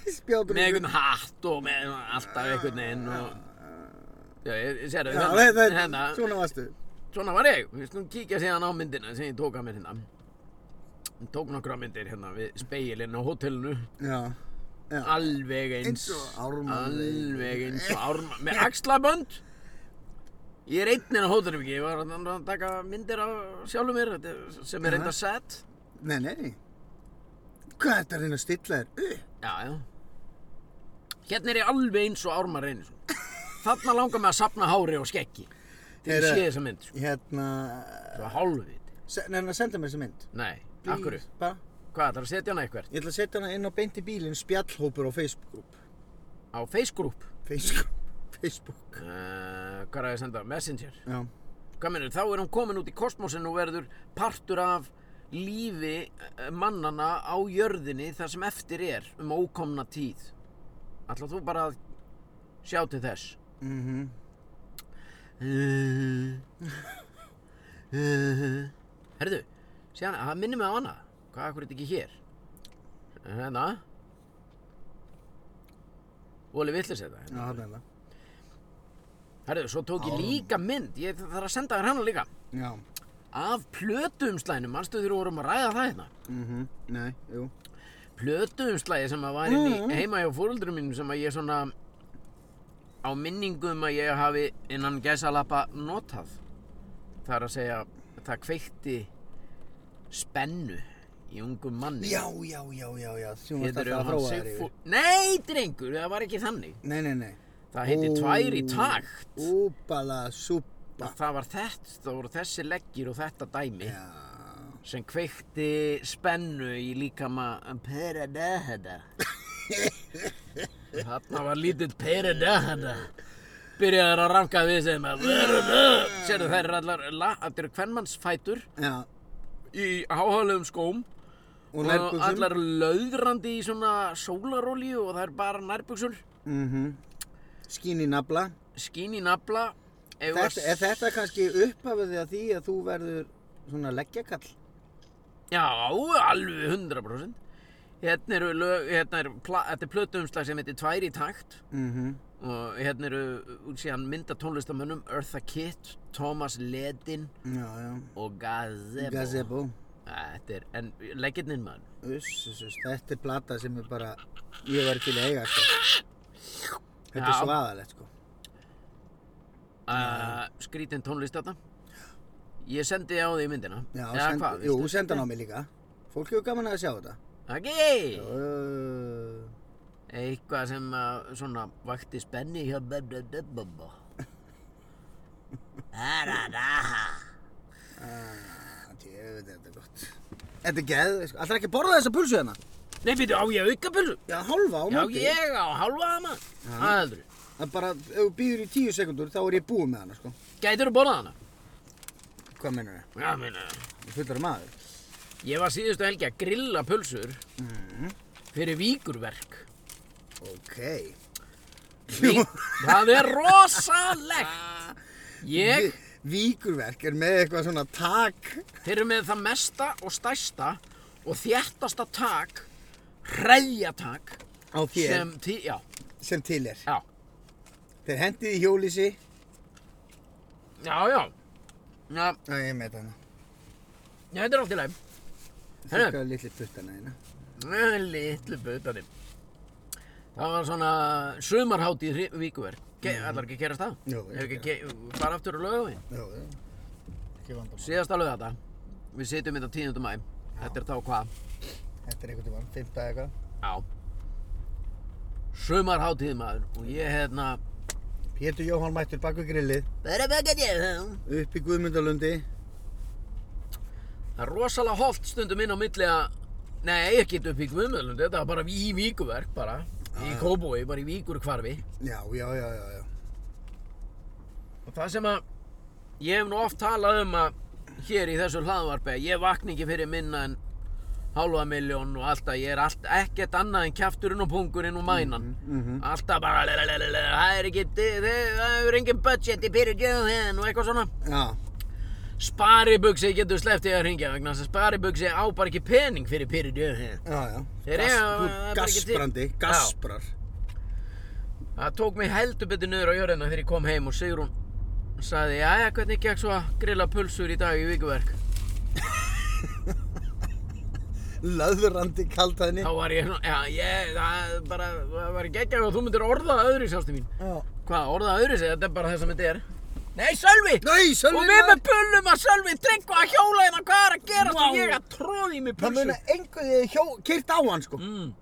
B: Spjákurinn.
A: Með einhvern hatt og með alltaf einhvern veginn og... Já, ég, ég sér
B: Já,
A: þau
B: það, það,
A: hérna,
B: svona varstu.
A: svona var ég Við skulum kíkja síðan á myndina sem ég tók að mér hérna Ég tók nokkra myndir hérna við speilin á hótelinu
B: Já. Já.
A: Ah. Alveg eins
B: Eins og Ármann Reynisson.
A: Alveg eins og Ármann Með axlabönd Ég er einninn á hótelinu ekki Ég var að taka myndir af sjálfum mér þetta er- sem er reynda sett
B: Nei, nei, nei. Hvað er þetta að reyna að stilla þér? upp?
A: Já, já. Hérna er ég alveg eins og Ármar Reynisson. Þarna langar mig að sapna hári og skeggi. Þegar ég
B: Heyrðu.
A: sé þessa mynd, sko.
B: Hérna,
A: Svo hálfvit.
B: nefnir að senda mér þessa mynd.
A: Nei, af hverju?
B: Please, Bara,
A: Hvað, ætlar að setja hana eitthvert?
B: ég ætla að setja hana inn á beint í bílinn spjallhópur á Facebook-grúp.
A: Á Facebook?
B: Facebook. [laughs] Facebook.
A: Uh, hvað er að ég senda? Messenger?
B: Já.
A: Hvað minnur, þá er hún komin út í kosmosin og verður partur af lífi eh, mannanna á jörðinni þar sem eftir er um ókomna tíð. Ætlar þú bara að sjá til þess?
B: Mhm.
A: Herðu, sé hana, það minnir mig á hana Hvað, akkur er þetta ekki hér? Hérna Óli villis þetta
B: Já,
A: hérna.
B: það er það.
A: Herðu, svo tók ég líka mynd Ég þarf að senda þér hana líka
B: Já.
A: Af plötuumslæðinu, manstu þegar við vorum að ræða það hérna
B: Mhm. Nei, jú.
A: Plötuumslæði sem að var inn
B: Mhm.
A: í heima hjá fóruldrum mínum sem að ég svona á minningum að ég hafi innan gæsalappa notað það er að segja það kveikti spennu í ungum manni
B: Já, já, já, já, já. Þú varst
A: Heitir
B: alltaf að
A: hann
B: þróa þér
A: Sigfú...
B: yfir.
A: Nei, drengur, það var ekki þannig
B: Nei, nei, nei.
A: það heiti
B: Ó.
A: tvær í takt
B: Úbala súpa.
A: það var þetta, það voru þessi leggir og þetta dæmi
B: Já.
A: sem kveikti spennu í líkama
B: [laughs]
A: Peredahada Þarna var lítill Peredahada byrjaður að ranka við sem að Sérðu þær eru allar la, þetta eru kvenmannsfætur
B: Já.
A: í háhálugum skóm
B: Og
A: og
B: nærbuxum.
A: allar löðrandi í svona sólarolíu og það er bara nærbuxur
B: Mhm. Skín í nafla.
A: skín í nafla ef þú
B: Þetta,
A: varst-
B: er þetta kannski upphafið að því að þú verður svona leggjakall?
A: Já, alveg 100% Hérna eru lög, hérna eru, pla- þetta er plötuumslag sem heitir Tvær í takt
B: Mm -hmm.
A: og hérna eru uh, síðan mynda tónlistamönnum Eartha Kitt, Thomas Ledin
B: Já, já.
A: og Gazebo.
B: Gazebo.
A: Æ, Þetta er, en legginninn maður.
B: Uss, uss, uss. Þetta er plata sem er bara, ég var til að eiga sko. Þetta er
A: Já.
B: svaðalegt sko.
A: Uh, skrítin tónlist þetta. Ég sendi á því myndina.
B: Já,
A: Eða
B: send,
A: hvað,
B: jú,
A: veistu?
B: senda hann á mig líka. Fólk hefur gaman að sjá þetta.
A: Ekki!
B: Uh,
A: Eitthvað
B: [laughs]
A: sem uh, svona vakti spenni hjá bebebebeba.
B: Djöfull er þetta gott. Þetta er geð, sko. Alltaf ekki að borða þessa pulsu hérna?
A: Nei, býttu, á ég auka pulsu?
B: Já, hálfa á
A: Já,
B: móti.
A: ég á halva það maður. Það heldur.
B: Það er bara, ef þú býður í tíu sekundur, þá er ég búið með hana, sko.
A: Gætirðu borðað hana?
B: Hvað mennur það?
A: Já, minna.
B: Fullar maður.
A: Ég var síðustu helgi að grilla pulsur
B: Mm,
A: fyrir víkurverk.
B: ok.
A: Ví-
B: [laughs]
A: Það er rosalegt. Ég,
B: Víkurverk er með eitthvað svona tak.
A: þeir eru með það mesta og stærsta og þjættasta tak, hreðjatak,
B: Á þér.
A: sem, tí, já,
B: Sem til er.
A: já,
B: Þeir hendið í hjólísi.
A: já, já, já,
B: Já, ég met hana.
A: já, þetta er allt í læm, Herru.
B: Þakka litli puttana hérna.
A: litlu butandi. Það var svona sumarhátt í Víkuverk, allar ekki að kerast það,
B: Mm. Jú,
A: ef ekki að ke- fara aftur á lögavinn.
B: Já, já. Ekki vandamál.
A: Síðast alveg þetta, við sitjum þetta 10. mæ, þetta er þá hvað?
B: Þetta er einhvern veginn, fymta eða eitthvað.
A: Já Sumarhátíð maður og ég hérna
B: Pétur Jóhann mættur baku grillið,
A: Bara baka þér Það
B: upp í Guðmundalundi.
A: er rosalega holt stundum inn á milli að Nei, ekki upp í Guðmjöðlundi, þetta var bara í Víkuverk bara Í Kóbói, bara í Víkurkvarfi
B: Já, já, já, já, já.
A: Og það sem að Ég hef nú oft talað um að Hér í þessu hlaðvarpi að ég vakna ekki fyrir minna en Hálfa milljón og alltaf Ég er allt, ekkert annað en kjafturinn og pungurinn og mænan
B: mhm.
A: Alltaf bara lelelelele, Það er ekki, það það er engin budget í pyrirgjöðin og eitthvað svona
B: Já,
A: Sparibuxi getur sleppt í að ringja vegna þess að Sparibuxi á bara ekki pening fyrir pyrir
B: já, já.
A: Þeir
B: Gas-
A: eiga- það
B: þú-
A: er bara ekki til.
B: Gasprandi,
A: Já.
B: gasprar.
A: Það tók mig heldur betur niður á jörðina þegar ég kom heim og Sigrún sagði Jæja, hvernig gekk svo að grilla pulsur í dag í vikuverk?
B: Löðrandi kaldhæðni.
A: Þá var ég, svona, já, ég, það er bara, það var ekki ekki að þú myndir orða það öðru sástu mín
B: Já.
A: Hvað, orða það öðru sig? Þetta er bara þess að myndi er Nei, Sölvi!
B: Nei, Sölvi
A: Og við
B: maður.
A: með pullum að Sölvi tryggva að hjóla hérna hvað er að gerast
B: Vá.
A: og ég að tróði mig
B: Það
A: pulsur
B: muna einhvern veginn hjó, kyrt á hann sko.
A: mm.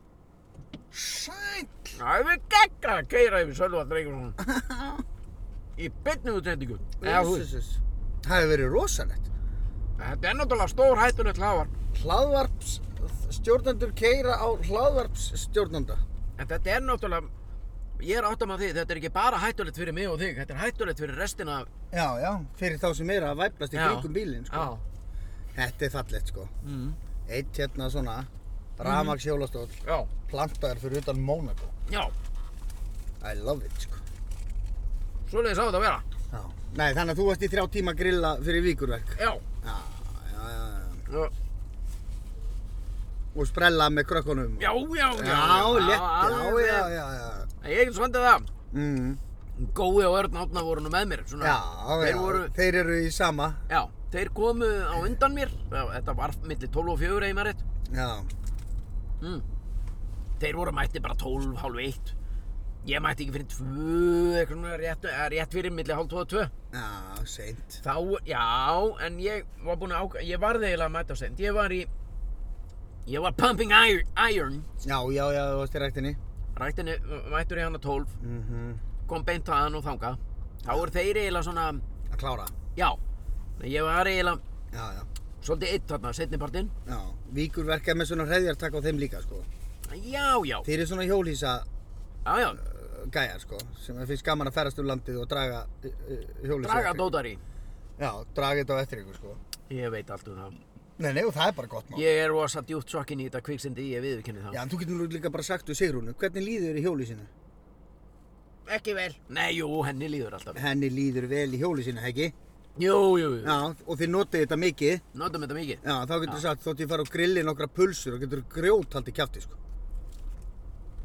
B: Sæl.
A: Það hefur geggjað að keira yfir Sölva Dreikursson í beinni útsendingu. Eða þú veist,
B: Jesus. Það hefur verið rosalegt.
A: þetta er náttúrulega stór hættulegt hlávar.
B: Hlaðvarps stjórnendur keira á hlaðvarps stjórnenda.
A: En þetta er náttúrulega, ég er áttam að því, þetta er ekki bara hættulegt fyrir mig og þig, þetta er hættulegt fyrir restina af...
B: Já, já. Fyrir þá sem eru að væplast í
A: Já.
B: kringum bílinn sko.
A: Já.
B: Þetta er fallegt sko.
A: Mm.
B: Eitt hérna svona, rafmaks hjólastól,
A: Já.
B: plantaður fyrir utan Mónaco.
A: Já.
B: I love it sko.
A: Svoleiðis á þetta að vera.
B: Já. Nei, þannig að þú varst í þrjá tíma að grilla fyrir vikurverk.
A: Já.
B: Já, já, já, já.
A: Já,
B: Og sprella með krökkunum.
A: já, já.
B: Já, létt, já,
A: alveg.
B: já, já, já.
A: Ég er ekki svandið það.
B: Mm,
A: Gói og Örn átna voru nú með mér, svona.
B: já,
A: Þeir
B: já,
A: voru-
B: þeir eru í sama.
A: Já, þeir komu á undan mér. Já, Þetta var milli 12 og 4 eða rétt.
B: Já,
A: Mm. Þeir voru mætti bara 12, hálf 1 Ég mætti ekki fyrir 2 eitthvað svona rétt, eða rétt fyrir milli hálf 2 og 2
B: já, seint.
A: Þá, já, en ég var búinn að ákvæða Ég varði eiginlega að mæta á send Ég var í Ég var pumping iron, iron.
B: Já, já, já, þú varst í ræktinni.
A: Rættinni mættur í hana 12
B: Mm
A: Kom beint að hann og þanga Þá eru þeir eiginlega svona
B: Að klára.
A: Já, Nei, ég var eiginlega
B: Já, já,
A: Svolítið eitt þarna, setnipartinn
B: já. Víkur verkar með svona hreðjartak á þeim líka, sko.
A: Já, já,
B: Þeir eru svona hjólhýsa
A: já, já
B: uh, gæjar, sko. Sem það finnst gaman að ferast um landið og draga uh, uh, hjólhýsa.
A: Draga dótari
B: Já, draga þetta á eftir ykkur, sko.
A: Ég veit allt um það
B: Nei, nei, og það er bara gott mál.
A: Ég er rosa djúpt sokkin í þetta kviksindi Ég viðurkenni það
B: Já, en þú getur nú líka bara sagt við Sigrúnu, hvernig líður þér í hjólhýsinu?
A: Ekki vel. Nei, jú, henni líður alltaf.
B: Henni líður vel í hjólhýsinu, ekki?
A: Jú, jú, jú.
B: Já, og þið notið þetta mikið.
A: Notum þetta mikið.
B: Já, þá getur þú sagt, þótt ég fara og grilli nokkra pulsur og getur grjót haldið kjafti, sko.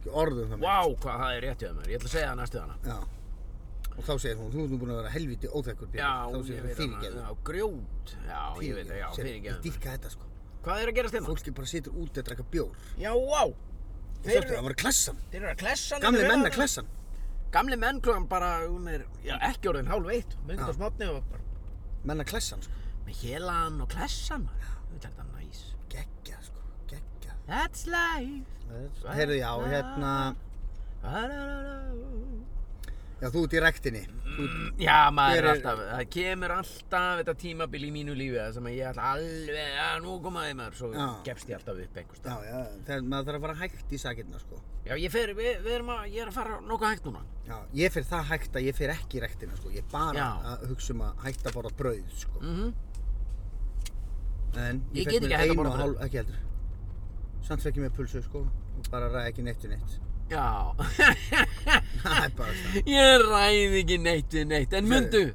B: Ekki orðum það
A: Vá, hvað það er rétt hjá mér. Ég ætla að segja það næstu hana.
B: Já. Og þá segir hún, þú ert nú búin að vera helviti óþekkur
A: Já,
B: Þá
A: ég
B: segir hún
A: veit hana.
B: fyrirgeðu.
A: Já, grjót. Já, ég veit það, já,
B: Ég
A: fyrirgeðu.
B: dýrka þetta, sko.
A: Hvað er að gerast hérna?
B: Fólki bara situr úti að drekka bjór.
A: Já, vá.
B: Þeir
A: Þeir
B: eru að
A: eru
B: vera klessan.
A: þeir eru að klessa. hann
B: Gamli
A: yfir
B: menna
A: hana.
B: klessan.
A: Gamli menn klokkan bara, hún er, já, ekki orðin hálf eitt. Möngt á smotni og bara
B: Menna klessan, sko.
A: með hélan og klessan. Þetta er þetta næs.
B: Geggja, sko. Geggja.
A: That's life.
B: Heyrðu, já, hérna...
A: Da, da, da, da.
B: Já, þú ert í rektinni.
A: Mm, Já, maður
B: Hver
A: er
B: er-
A: alltaf, það kemur alltaf þetta tímabil í mínu lífi það sem að ég ætla alveg, já, nú komaði maður, svo
B: Já.
A: gefst ég alltaf upp einhvers
B: Já,
A: stað.
B: já, þegar maður þarf að fara hægt í sakirna, sko.
A: Já, ég fer, við, við erum að, ég er að fara nokkuð hægt núna.
B: Já, ég fyrir það hægt að ég fyrir ekki í rektina, sko. Ég er bara
A: Já.
B: að hugsa um að hægt að borða brauð, sko.
A: Mm
B: En
A: Ég
B: fékk
A: get
B: mér
A: ekki hætt að
B: eina
A: borða
B: og
A: brauð.
B: hálf- Ekki heldur. Samt fekk ég mér pulsu, sko. Og bara ræði ekki neitt við
A: [laughs]
B: neitt.
A: Já,
B: Það er bara það.
A: ég ræði ekki neitt við neitt, en mundu,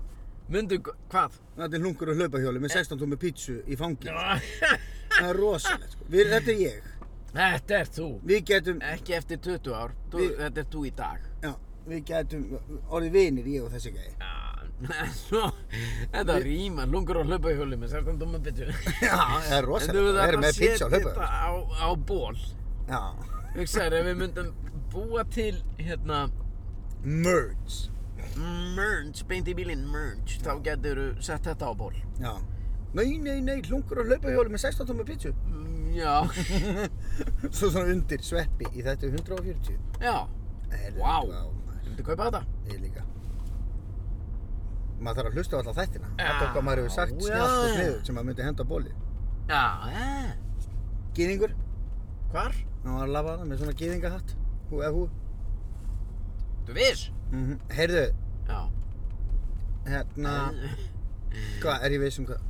A: mundu, hvað?
B: Þetta er hlungur og hlaupahjóli með 16 tómi pítsu í fangi. Það er rosalegt, sko. Við, þetta er ég.
A: [laughs] Þetta er þú.
B: Við getum,
A: Ekki eftir 20 ár, þú,
B: Við-
A: þetta er þú í dag.
B: já, við getum orðið vinir, ég og þessi gæði.
A: Já, [laughs] svo, þetta rýma, lungur og hlaupahjóli með 16 dóma byttu.
B: [laughs] Já, það er
A: En þú
B: rosalegt.
A: veist
B: Það
A: að
B: er með pítsu á
A: setja
B: hlaupahjóli.
A: þetta á, á ból.
B: Já.
A: Hugsaður, ef við myndum búa til, hérna,
B: Merge.
A: merge, beint í bílinn merge, þá getur þú sett þetta á ból.
B: Já. Nei, nei, nei, hlungur og hlaupahjóli með 16 tómi pítsu. [laughs]
A: Mm, Já,
B: Svo svona undir sveppi í þetta er 140.
A: já,
B: Herri,
A: Vá.
B: maður,
A: myndu kaupa þetta?
B: Ég líka. Maður þarf að hlusta á alla þættina.
A: Já,
B: Þetta okkar maður hefur sagt
A: já.
B: snjátt og sniður sem maður myndi henda á bóli.
A: Já, eh,
B: Gýðingur.
A: hvar?
B: Hann var að lafa hana með svona gýðingahatt. Hú eða hú.
A: Þú viss?
B: Mm Heyrðu,
A: Já. [laughs]
B: hérna, hvað, er ég viss um hvað?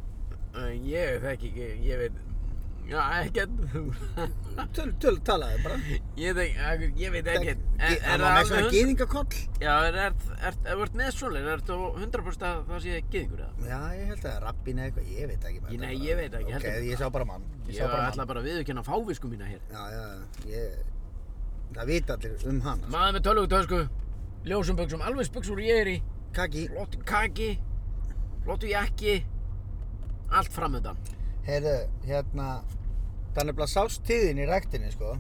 A: Eh, Ég þekki ekki, ég veit, já, ekkert.
B: Töl, töl, talaðu bara.
A: Ég, þek, akkur- ég veit ekki,
B: Tek-
A: er,
B: gi-
A: er það
B: Hann var með
A: alveg
B: svona
A: hund?
B: gýðingakoll.
A: Já, er, er, er, er, er með svoleið, er þú 100% að það sé gýðingur eða?
B: Já, ég held að það er rabbin eða eitthvað, ég veit ekki
A: Ég-
B: maður.
A: nei, ég veit ekki,
B: Ok,
A: heldur bara.
B: ég sá bara mann. Ég,
A: Ég
B: sá bara
A: ætla
B: mann.
A: bara að viðurkenna fávisku mína hér.
B: Já, já, ég, það vita allir um hann.
A: Maður með tölvutösku, ljósum buksum, alveg spuksur ég er í,
B: Kaki,
A: flottu kaki, flottu jakki, allt framöndan.
B: heyrðu, hérna, það er nefnilega sást tíðin í ræktinni, sko,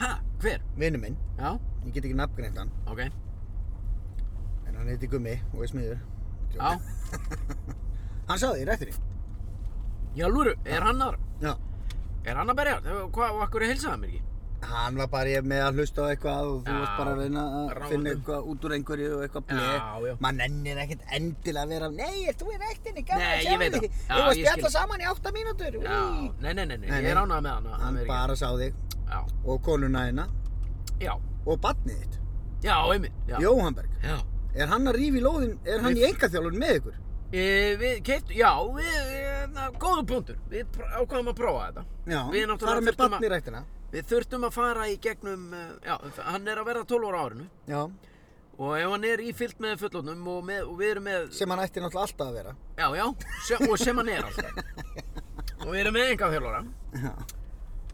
A: Ha, hver?
B: vinnu minn,
A: Já,
B: ég get ekki nafngreint hann,
A: ok,
B: en hann heiti Gummi og er smiður.
A: já.
B: [laughs] Hann sá það í ræktinni.
A: Já, lúru, er hann að,
B: Já.
A: er hann að berja? Hvað, og akkur er heilsaðan mér ekki?
B: Hann var bara í- með að hlusta á eitthvað og þú
A: Já,
B: varst bara að reyna að
A: ráðum.
B: finna eitthvað út úr einhverju og eitthvað bleið.
A: Já, já.
B: Man nennir ekkert endilega að vera, nei, ert þú í ræktinni, gaman
A: Nei,
B: að
A: ég
B: sjá
A: veit
B: þig.
A: það. Já,
B: Ég var að
A: ég skil.
B: spjalla saman í átta mínútur.
A: Já,
B: Í.
A: nei, nei, nei, nei,
B: Nei,
A: ég
B: nei.
A: er ánað með hann,
B: Hann bara sá þig
A: Já,
B: og konuna hérna
A: já,
B: og barnið þitt,
A: já, einmitt, já.
B: Jóhannberg.
A: Já.
B: Er hann að rífa í lóðin, er hann
A: Við-
B: í engaþjálun með ykkur?
A: Eh, Við keitt, já, við, na, góðu punktur, við pr- ákváðum að prófa þetta.
B: Já,
A: Við náttúrulega um
B: fara með
A: þurftum
B: barn í ræktina.
A: Við þurftum að fara í gegnum, eh, já, hann er að verða 12 ára á árinu
B: Já.
A: og ef hann er í fyllt með fullotnum og, með, og við erum með,
B: Sem hann ætti náttúrulega alltaf að vera.
A: já, já, sem, og sem hann er alltaf. og við erum með enga þjálfara
B: Já.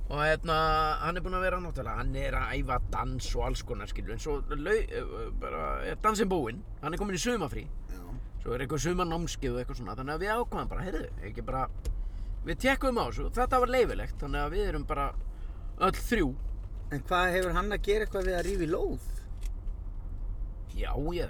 A: og hérna, hann er búinn að vera náttúrulega, hann er að æfa dans og alls konar skilur, en svo lau, eh, eh, bara, er dansinn búinn, hann er komin í sumafrí,
B: Já.
A: svo er eitthvað sumarnámskeið og eitthvað svona, þannig að við ákvaðum bara, heyrðu, ekki bara, við tekkuðum á þessu, þetta var leifilegt, þannig að við erum bara öll þrjú,
B: En hvað hefur hann að gera eitthvað við að rífa í lóð?
A: já, ég,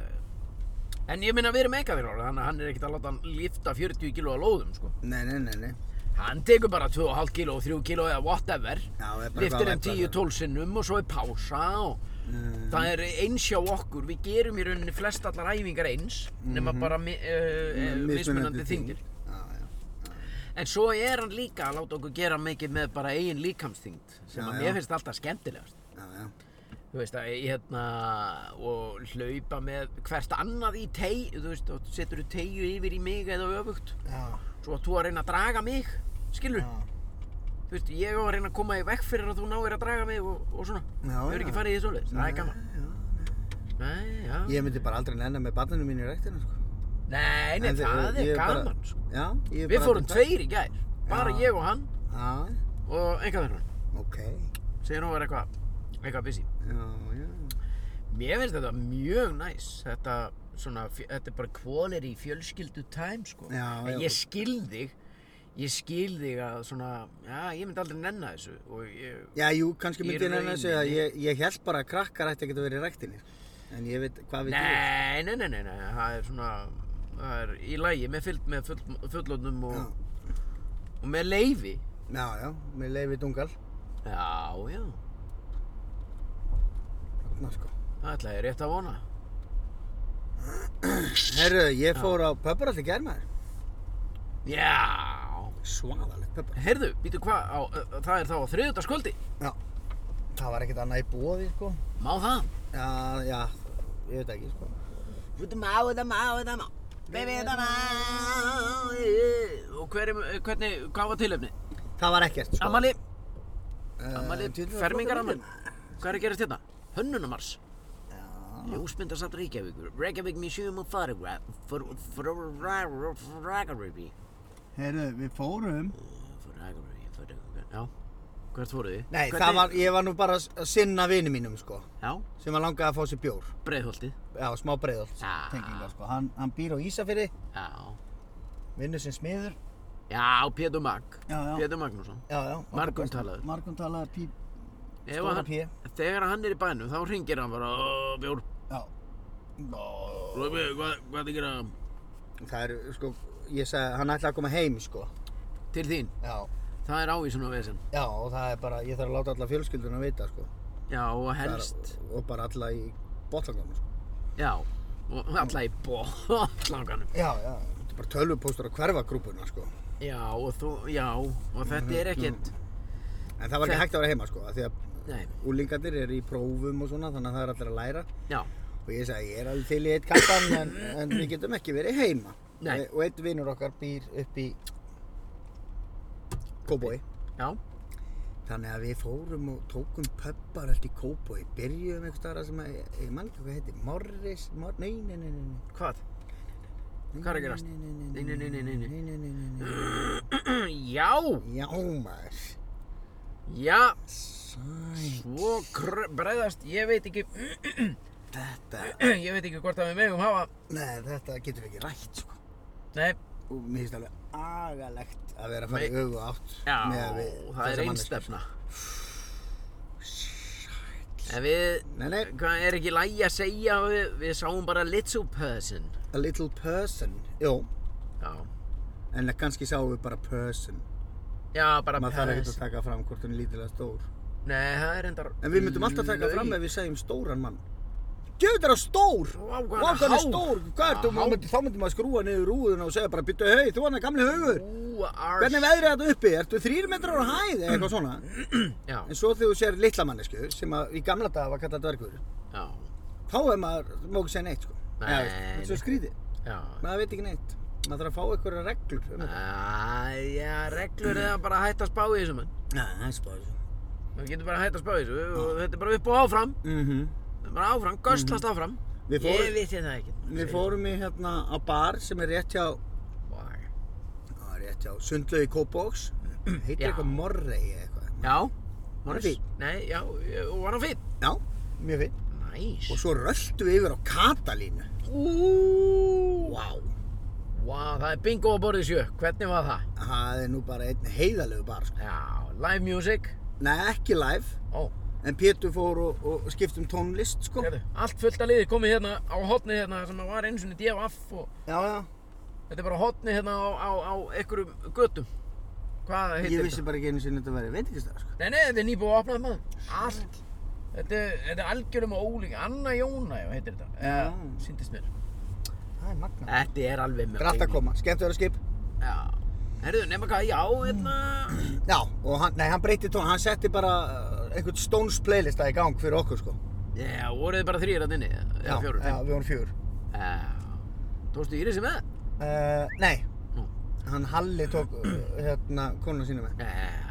A: en ég minna við erum eitthvað fyrir þannig að hann er ekkert að láta hann lifta 40 kíló að lóðum, sko,
B: Nei, nei, nei, nei.
A: hann tekur bara 2,5 kíló og 3 kíló eða whatever,
B: Já, það er bara
A: liftir
B: eitthvað
A: þeim
B: að væpla
A: 10-12 sinnum og svo er pása og
B: Mm.
A: það er eins hjá okkur, við gerum í rauninni flest allar æfingar eins, nema
B: Mhm.
A: bara mi- uh, uh, mismunandi þingir.
B: Mm, Já, já.
A: En svo er hann líka að láta okkur gera mikið með bara eigin líkamsþyngd sem
B: Já,
A: að
B: já.
A: mér finnst alltaf skemmtilegast.
B: Já, já.
A: Þú veist að ég hérna og hlaupa með hvert annað í tei, þú veist, og setur þú teiu yfir í mig eða öfugt.
B: Já,
A: Svo að þú að reyna að draga mig, skilur.
B: já.
A: Þú veist, ég á að reyna að koma í vekk fyrir að þú náir að draga mig og, og svona.
B: Já,
A: Þau eru
B: já.
A: ekki farið í þessu leið, það er gaman.
B: Já,
A: Nei, já.
B: já. Ég myndi bara aldrei nennan með barninu mínu í ræktina, sko.
A: Nei, nei,
B: En þið-
A: það
B: ég
A: er
B: bara-
A: gaman, sko.
B: Já, ég er bara...
A: Við fórum
B: aldrei-
A: tveir í gær, bara
B: Já.
A: ég og hann
B: Já,
A: og einhverjum.
B: ok.
A: Segir hún var eitthvað, eitthvað busy.
B: Já, já.
A: Mér finnst þetta mjög næs, þetta, svona, fj- þetta er bara quality fjölskyldu time, sko.
B: Já,
A: En
B: já.
A: Ég skil þig, ég skil þig að svona, já, ég myndi aldrei nenna þessu og ég,
B: Já, jú, kannski
A: Í
B: myndi ég nennan þessu að
A: rauninni.
B: ég, ég held bara að krakkar ætti ekkert að vera í ræktinni. sko. En ég veit, hvað veit ég?
A: nei, nei, nei, nei, nei, það er svona, það er í lagi með, fylg, með full, fullotnum og, og með leifi.
B: Já, já, með leifi dungal.
A: Já, já,
B: Ná, sko.
A: það ætla ég rétt að vona.
B: Herru, ég fór á pöpparall í germaður.
A: Já.
B: Svaðalegt pöpparall.
A: Herðu, býtu hvað, á, ö, ö, það er þá á þriðutaskvöldi.
B: Já. Það var ekkert annað í bóði, sko.
A: Má það?
B: Já, já, ég veit ekki, sko.
A: Veitum á, veitum á, veitum á. Við veitum á. Og hver, er- hvernig, hvað var tilöfni?
B: Það var ekkert, sko.
A: Amali,
B: Eh,
A: amali,
B: djöfull var
A: fermingaramali.
B: flottur
A: Hvað er að gerast hérna? Hönnunumars.
B: bíll.
A: Ljósmyndasafn Reykjavíkur. Reykjavík Museum of Photograph. Photography.
B: Já. Herru, við fórum.
A: Photography. photography. Já. Hvert voruð þið?
B: Nei,
A: Hvernig-
B: það var, ég var nú bara að sinna vini mínum, sko.
A: Já,
B: Sem að langaði að fá sér bjór.
A: breiðholtið.
B: Já, smá breiðolt.
A: Já.
B: Tengingar, sko. Hann, hann býr á Ísafirði,
A: Já.
B: vinnur sem smiður.
A: Já, Pétur Mag.
B: Já, já.
A: Pétur Magnússon.
B: Já, já. okkar
A: Margum
B: besta-
A: talaður.
B: Margum talaður píp.
A: Ef
B: Stóra
A: hann-
B: P.
A: Þegar hann er í bænum þá ringir hann bara "Ó, Bjór,
B: Já. Nó.
A: Róbi, hvað, hvað þið gera
B: Það er, sko, ég sagði, hann ætlaði að koma heim, sko.
A: til þín?
B: Já.
A: Það er ávísun á vesen.
B: Já, og það er bara, ég þarf að láta alla fjölskylduna vita, sko.
A: Já, og
B: Það er-
A: helst.
B: Og bara alla í botlanganum, sko.
A: Já, og alla í bóttlanganum.
B: Já, já. Þetta er bara tölvupóstur á hverfagrúpuna, sko.
A: Já, og þú, já, og þetta
B: Hérna.
A: er ekkert,
B: En það var ekki
A: Þetta-
B: hægt að vera heima, sko, af því að
A: nei,
B: úlingarnir eru í prófum og svona, þannig að það er allir að læra.
A: já,
B: Og ég sagði, ég er alveg til í eitt kattan, en, en við getum ekki verið heima. Eh,
A: Nei.
B: Og- Og einn vinnur okkar býr upp í Kóboi.
A: já,
B: Þannig að við fórum og tókum pöppar allt í Kóboi, byrjuðum einhvers staðar þar sem að, ég man ekki hvað heiti, Morris, Mor nei, nei, nei, nei, nei.
A: hvað? [clears throat] Hvað er að gerast?
B: Nei,
A: Nei, nei, nei, nei, nei, nei.
B: nei, nei, nei, nei, nei.
A: já,
B: Já, maður.
A: já,
B: Sæ,
A: svo kr- bregðast, ég veit ekki, [clears throat]
B: þetta,
A: ég veit ekki hvort að við megum hafa,
B: nei, þetta getum við ekki rætt, sko.
A: nei,
B: Og mér finnst alveg agalegt að vera að fara í
A: Nei.
B: augu átt
A: já,
B: miðað við
A: það er
B: þessa manneskju.
A: einstefna. En við,
B: Nei, nei,
A: hvað er ekki lægi að segja, að við, við sáum bara little person,
B: a little person, jú,
A: já,
B: en kannski sáum við bara person.
A: já, bara
B: Maður þarf ekkert að
A: person,
B: taka fram hvort hún er lítilega stór.
A: nei, það er endar,
B: En við myndum alltaf taka fram ef við segjum stóran mann. Gjöðu þetta stór!
A: Vá, hvað hann er
B: Vá, hvað hann er
A: hár!
B: stór! Hvað er
A: Hann
B: þú?
A: hár.
B: Myndi, þá myndum maður skrúa niður rúðuna og segja bara byttu hei, þú hann er gamli haugur!
A: Ú, ars,
B: Hvernig er veðrið þetta uppi? Ertu þrýr metrar á hæð eða eitthvað svona?
A: já,
B: En svo þegar þú sér litla mannesku sem að í gamla daga var kallað dvergur
A: já,
B: þá er maður, má ekki segja neitt sko.
A: Nei,
B: Eða, veist, Þetta er svo
A: nei.
B: skrítið.
A: já,
B: Maður veit ekki neitt. Maður þarf að fá einhverja reglur um þetta.
A: Æja, reglur eða bara hægt að spá í þessu menn.
B: Nei, það er spáðið.
A: Við getum bara hægt að spá í þessu og þetta er bara upp og áfram. Þetta er bara áfram, göstlast áfram.
B: Mhm. Mm. Við fórum-
A: Ég vissi það ekki.
B: Við fórum í hérna á bar sem er rétt hjá
A: Vá.
B: Það er rétt, já. Sundlau í Kópavóks. [clears throat] Heitir
A: Já.
B: eitthvað Morrey eða eitthvað.
A: Já,
B: Var
A: Morris.
B: fínn.
A: Nei, já, ég- og var hann fín.
B: Já, mjög fint.
A: Næs.
B: Og svo röltu við yfir á Katalínu.
A: Úúúú.
B: Vá.
A: Vá, það er bingo á borðið sjö. Hvernig var það?
B: Það er nú bara einn heiðalegu bar, sko.
A: Já, live music.
B: Nei, ekki live,
A: Ó,
B: en Pétur fór og, og skipti um tónlist, sko.
A: hérðu, allt fullt að liði komið hérna á hotnið hérna sem að var eins og niður D.F. og
B: Já, já.
A: þetta er bara hotnið hérna á, á, á einhverjum götum. Hvað heitir
B: Ég vissi bara ekki einu sinni þetta verið veitingastæðar, sko.
A: Nei, nei, þetta er nýbúið að opnað maður. Allt. Þetta, er- þetta er algjörum og ólík. Anna Jóna, já, heitir þetta.
B: Já.
A: Eh, Sýndist mér.
B: Það er magna.
A: Þetta er alveg mjög.
B: Grætt að koma, skemmt að vera skip.
A: Já. Herðu, nema hvað, já, hérna.
B: Já, og hann, nei, hann breytti tón, hann setti bara uh, einhvern Stones playlista í gang fyrir okkur, sko.
A: Já, voruð þið bara þrýr að inni? Já, fjóru,
B: Já,
A: fimm.
B: við vorum fjör.
A: Já. Tókstu Írisi með?
B: Uh, nei,
A: Nú.
B: hann Halli tók uh, hérna konuna sína með.
A: Já.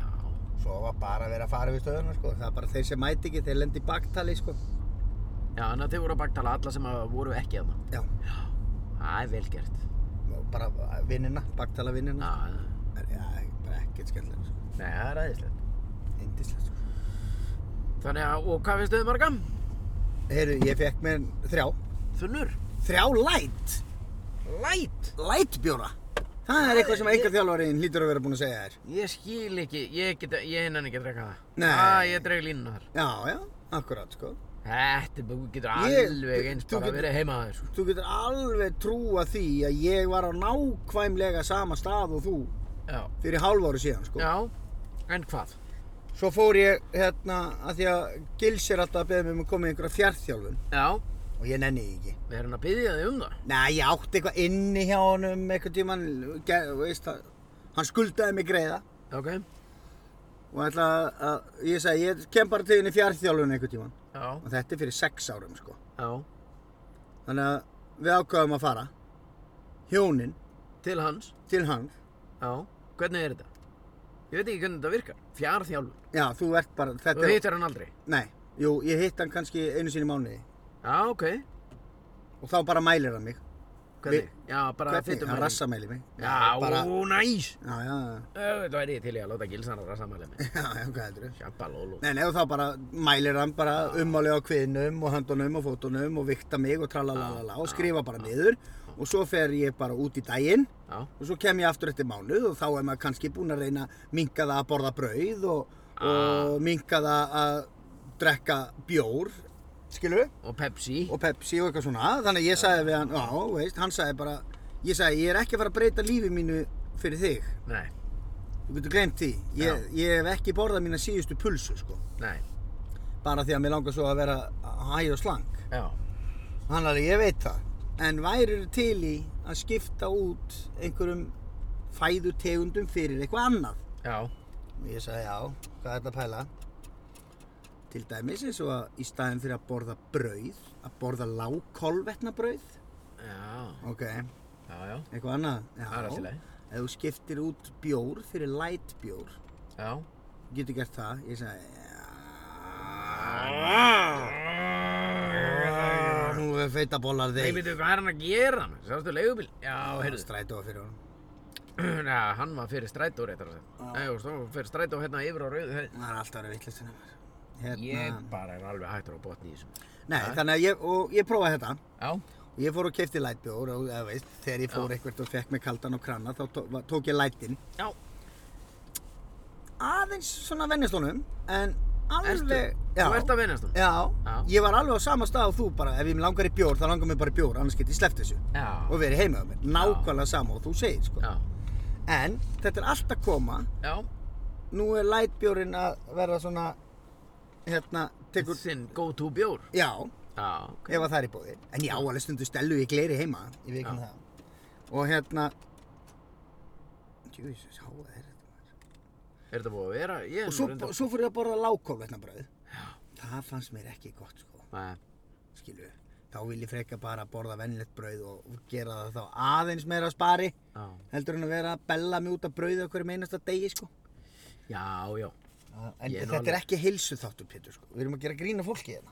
B: Svo var bara að vera að fara við stöðuna sko. Það er bara þeir sem mæti ekki, þeir lendi í baktali sko.
A: Já, þannig að þið voru að baktala alla sem að voru ekki hérna. að maður.
B: Já,
A: Það er vel gert.
B: og bara vinnina, baktala vinnina.
A: Já,
B: Já, bara ekkert skemmtilegt sko.
A: nei, það er aðeinslegt.
B: Indislegt sko.
A: Þannig að, og hvað finnst um þið marga?
B: Heyrðu, ég fekk mér þrjá.
A: Þunnur.
B: Þrjá light!
A: Light.
B: Light bjóra! Það er eitthvað sem einhver þjálfariðin hlýtur að vera búinn að segja þér.
A: Ég skil ekki, ég get, ég hennan ekki að drekka það.
B: Nei.
A: Ah, ég dreg línuna þar.
B: Já, já, akkurát sko.
A: Þetta er- þú getur
B: Ég-
A: alveg eins
B: þú
A: bara
B: getur-
A: verið heima að þér. sko.
B: Þú getur alveg trúa því að ég var á nákvæmlega sama stað og þú
A: Já.
B: fyrir hálf ári síðan sko.
A: Já, en hvað?
B: Svo fór ég hérna að því að Gils er alltaf að beða mig um að koma í einhverja fjartþjálfun.
A: Já,
B: og ég nenni því ekki.
A: Við erum að byggja þig um það.
B: Nei, ég átti eitthvað inni hjá honum eitthvað tíman, veist það, hann skuldaði mig greiða
A: Ok,
B: og ætla að, að ég sagði, ég kem bara til henni fjárþjálfun eitthvað tíman
A: já,
B: og þetta er fyrir sex árum sko.
A: já,
B: Þannig að við ákvaðum að fara, hjónin
A: til hans,
B: til hann,
A: já, hvernig er þetta? Ég veit ekki hvernig þetta virkar, fjárþjálfur,
B: já þú ert bara,
A: þú
B: þetta er,
A: hittar hann aldrei.
B: nei, jú, ég hitt hann kannski einu sinni í mánuði
A: Já, ok,
B: og þá bara mælir hann mig.
A: hvernig? Já, bara
B: Hvernig?
A: fyttum
B: Hann rassamæli mig.
A: Já,
B: bara,
A: ó, næs!
B: já, já, já,
A: Það væri ég til í að láta gilsan að rassa mælið mig.
B: já, já, hvað heldur
A: Sjabba lólu.
B: Nei, nei, og þá bara mælir hann bara ummáli á kviðnum og höndunum og fótunum og vikta mig og tralalala og skrifa bara niður og svo fer ég bara út í daginn
A: Já,
B: og svo kem ég aftur eftir mánuð og þá er maður kannski búinn að reyna að minka það að borða brauð og, og minka það að drekka bjór, skilu,
A: og Pepsi.
B: og Pepsi og eitthvað svona. Þannig að ég sagði við hann, já, veist, hann sagði bara, ég sagði, ég er ekki að fara að breyta lífi mínu fyrir þig.
A: Nei,
B: Þú getur glemt því. Ég, ég hef ekki borðað mína síðustu pulsu, sko.
A: nei,
B: bara því að mér langar svo að vera hæg og slang.
A: já,
B: Hann alveg, ég veit það. En værir til í að skipta út einhverjum fæðutegundum fyrir eitthvað annað?
A: já,
B: Og ég sagði, já, hvað er þetta að pæla? Til dæmis eins og að í staðin fyrir að borða brauð, að borða lágkolvetnabrauð,
A: já,
B: ok,
A: já, já,
B: eitthvað annað? Já,
A: Það er allt í lagi.
B: Ef þú skiptir út bjór fyrir light bjór,
A: já.
B: getur gert það. Ég sagði, já,
A: Ah.
B: nú er feitabólar
A: Nei,
B: þig.
A: veitu hvað er hann að gera maður? Sástu leigubíl? Já, heyrðu,
B: Strætóa fyrir honum.
A: já, hann var fyrir strætó réttar að segja. Nei, og stóð fyrir strætó hérna yfir á rauðu höfð.
B: Það er alltaf að vera vittlust hennar maður. Hérna,
A: Ég bara er alveg hættur á botni í þessum.
B: Nei, þannig að ég, og ég prófaði þetta.
A: Já,
B: Og Ég fór og keipti lightbjór og eða veist, þegar ég fór eitthvað og fekk mig kaldan og kranna þá tó- va- tók ég lightin.
A: já,
B: Aðeins svona vennistónum, en
A: erstu,
B: alveg...
A: þú ert að vinast hún.
B: Já,
A: Já.
B: ég var alveg á sama stað og þú bara, ef ég langar í bjór, þá langar mér bara í bjór, annars get ég sleppt þessu. Og
A: Já,
B: verið heima á mér, nákvæmlega sama og þú segir, sko.
A: já,
B: En þetta er allt að koma,
A: já,
B: nú er lightbjórinn að verða svona, hérna, tekur...
A: sinn go to bjór.
B: Já,
A: Já, ok.
B: ef að það er í bóði en ég á alveg stundu stelu í gleri heima ég veit ekki um
A: Já.
B: það og hérna Jesus, háa er þetta maður.
A: Er þetta búið að vera? Ég er
B: og svo,
A: nú reyndar-
B: svo fór ég að borða lágkólvetnabröð það fannst mér ekki gott sko,
A: Nei,
B: skilu þá vil ég freka bara borða vennilegt brauð og gera það þá aðeins meira að spari
A: já,
B: heldur en að vera að bella mig út af brauði okkur einasta degi sko
A: já, já,
B: en
A: Ég er nú
B: þetta er
A: alveg-
B: ekki heilsu þáttur Pétur sko við erum að gera grína fólki hérna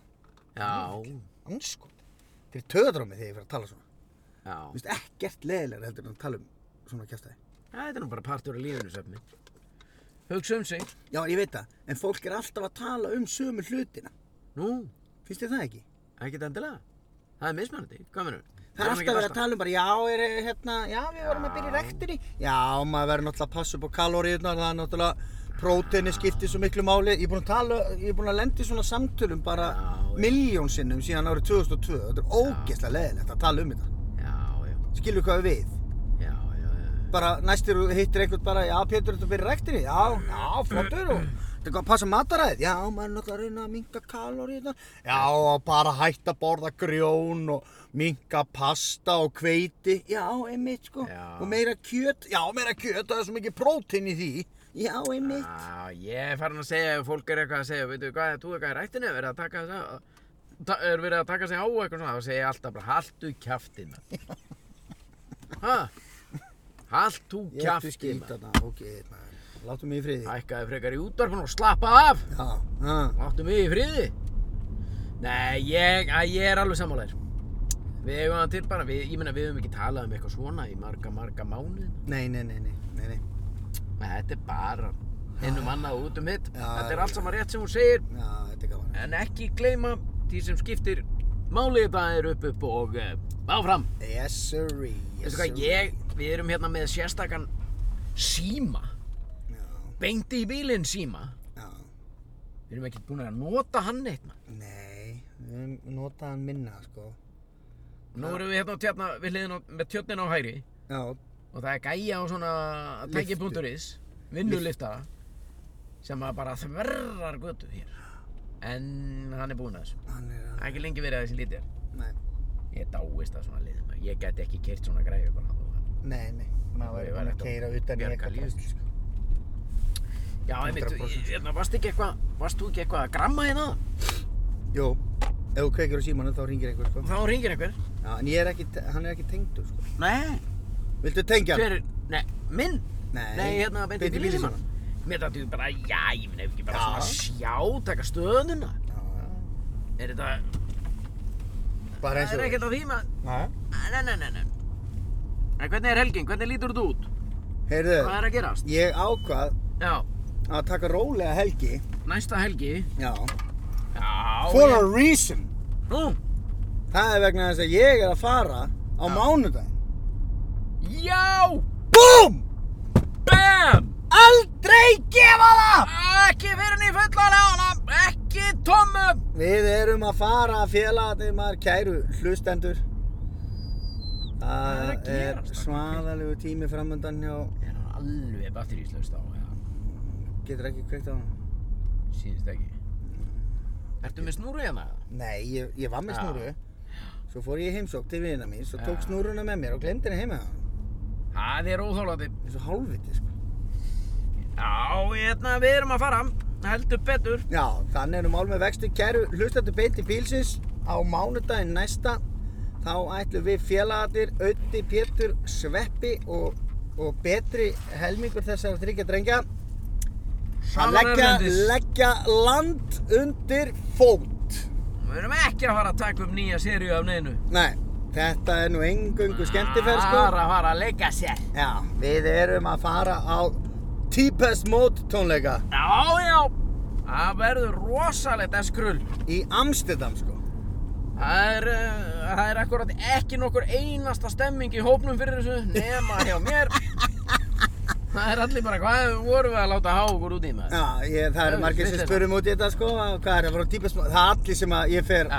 A: já,
B: anskot þetta er töðadrómi þegar ég fyrir að tala svona
A: já.
B: Mér finnst ekkert leðilegra heldur en að tala um svona kjæftæði.
A: Já, Þetta er nú bara partur af lífinu, söfni. Hugsa um sig.
B: Já, ég veit það, en fólk er alltaf að tala um sömu hlutina.
A: Nú,
B: Finnst þér það ekki?
A: ekkert endilega. Það er mismunandi, hvað mennum?
B: Það er alltaf verið að tala um bara, já, er, hérna, já, við vorum að byrja í rektinni. Já, maður verður náttúrulega að passa upp á kaloríunar, það er náttúrulega, próteini skiptir svo miklu máli. Ég er búinn að tala, ég er búinn að lenda í svona samtölum bara
A: Já, já.
B: miljón sinnum síðan árið 2002. Þetta er ógeðslega leðilegt að tala um þetta.
A: Já, já,
B: Skilur hvað við við?
A: já, já, já.
B: bara næstir og hittir einhvern bara, já Pétur, þetta byrjar rektinni, já, já, flottur [clears throat] og þetta er hvað að passa mataræðið, já, maður er náttúrulega að reyna að minka kaloríunar, já, og bara hætta að borða grjón og minka pasta og hveiti, já, einmitt, sko,
A: Já.
B: og meira kjöt, já, meira kjöt, það er svo mikið prótein í því, já, einmitt,
A: Já, ég er farin að segja ef fólk er eitthvað að segja, veitu hvað, þú eitthvað í rættinu er verið að taka þess að, ta, er verið að taka sig á eitthvað svona, þá segja ég alltaf bara, haltu kjaftina. Hæ? Haltu
B: ég ætti
A: kjaftina.
B: skýrt þarna, ok, maður, láttu mig í friði,
A: Hækkaði frekar í útvarpinu og slappa af.
B: já, ha,
A: Láttu mig í friði. Nei, ég, að ég er alveg sammálaðir. Við eigum það til bara, við, ég meina við höfum ekki talað um eitthvað svona í marga, marga mánuði.
B: nei, nei, nei, nei, nei, nei,
A: Nei, Þetta er bara innum annað og út um hitt.
B: Já,
A: Þetta er
B: já.
A: allt saman rétt sem hún segir,
B: já, þetta er gaman,
A: en ekki gleyma því sem skiptir málið það er upp upp og uh, áfram.
B: yes sirree, yes
A: Veistu hvað, ég, við erum hérna með sérstakann síma,
B: já,
A: beint í bílinn síma.
B: já,
A: Við erum ekki búin að nota hann eitt maður.
B: Nei, við höfum notað hann minna, sko.
A: Nú erum við hérna á tjarna, við hliðin á, með tjörnin á hægri.
B: Já,
A: og það er gæja á svona
B: Lyftu.
A: tæki.is vinnulifta sem að bara þverrar götu hér en hann er búinn að þessu
B: hann er
A: það er ekki lengi verið að þessi lítið er
B: Nei,
A: Ég dáist að svona liðum. Ég gæti ekki kert svona græfi bara.
B: nei, nei. Maður
A: Ég var
B: verður bara að
A: ekki að
B: keira utan í
A: bjarga
B: eitthvað
A: lífi.
B: drasl, sko.
A: Já, einmitt,
B: 100%.
A: hérna, varst ekki eitthvað, varst þú ekki eitthvað að gramma hérna?
B: Jú, ef þú kveikir á símanum þá ringir einhver, sko.
A: Þá ringir einhver.
B: Já, en ég er ekki, hann er ekki tengdur, sko.
A: Nei.
B: Viltu tengja hann?
A: Hver er, nei, minn?
B: Nei,
A: Nei, hérna, beint í
B: beint í
A: bílisíman.
B: bílinn
A: Mér dættu bara, já, ég minn, ef ekki bara
B: Já.
A: svona sjá, taka stöðuna.
B: Já, já.
A: Er þetta,
B: Bara eins
A: það
B: og...
A: er ekkert að því maður,
B: Nei.
A: nei, nei, nei, nei. En hvernig er helgin, hvernig lítur þú út? Hvað
B: Heyrðu,
A: er að gerast?
B: ég ákvað
A: Eh. Já,
B: að taka rólega helgi.
A: næsta helgi.
B: Já.
A: Já,
B: For a
A: ég-
B: reason.
A: Nú,
B: Það er vegna þess að ég er að fara á
A: Já.
B: mánudaginn.
A: já,
B: BOOM!
A: bam!
B: Aldrei gefa það!
A: Ekki fyrir henni fullan ána, ekki tómum!
B: Við erum að fara félagarnir maður kæru hlustendur.
A: er að
B: Það er
A: gerast?
B: svaðalegu tími framöndan hjá,
A: Er hann alveg batteríslaust á, já,
B: getur ekki kveikt á hann.
A: síðist ekki. Ertu með snúru hérna?
B: Nei, ég, ég var með
A: Já.
B: snúru. Svo fór ég í heimsókn til vina mín, svo tók
A: Já.
B: snúruna með mér og glemdi henni heima hjá hann.
A: Það er óþólandi.
B: Eins og hálfviti, sko.
A: Já, hérna, við erum að fara, heldur betur.
B: Já, þannig erum mál með vextu. Kæru hlustendur beint í bílsins á mánudaginn næsta. Þá ætlum við félagarnir, Ötti, Pétur, Sveppi og, og betri helmingur þessara þryggja drengja að
A: Saman
B: leggja,
A: erlendis.
B: leggja land undir fót.
A: Við erum ekki að fara að taka upp nýja sériu af neinu.
B: Nei, þetta er nú engöngu skemmtiferð, sko.
A: Bara að fara að leika sér.
B: Já, við erum að fara á Típest Mót tónleika
A: Já, já, það verður rosalegt eskrull.
B: í Amsterdam sko.
A: Það er, uh, það er akkurat ekki nokkur einasta stemming í hópnum fyrir þessu nema hjá [laughs] mér. Það er allir bara, hvað vorum við að láta há okkur út í maður?
B: Já, ég, það
A: Það
B: eru
A: er
B: margir sem
A: vitleisa.
B: spurum út í þetta sko, að hvað er að fara á Típest Mót, það er allir sem að ég fer og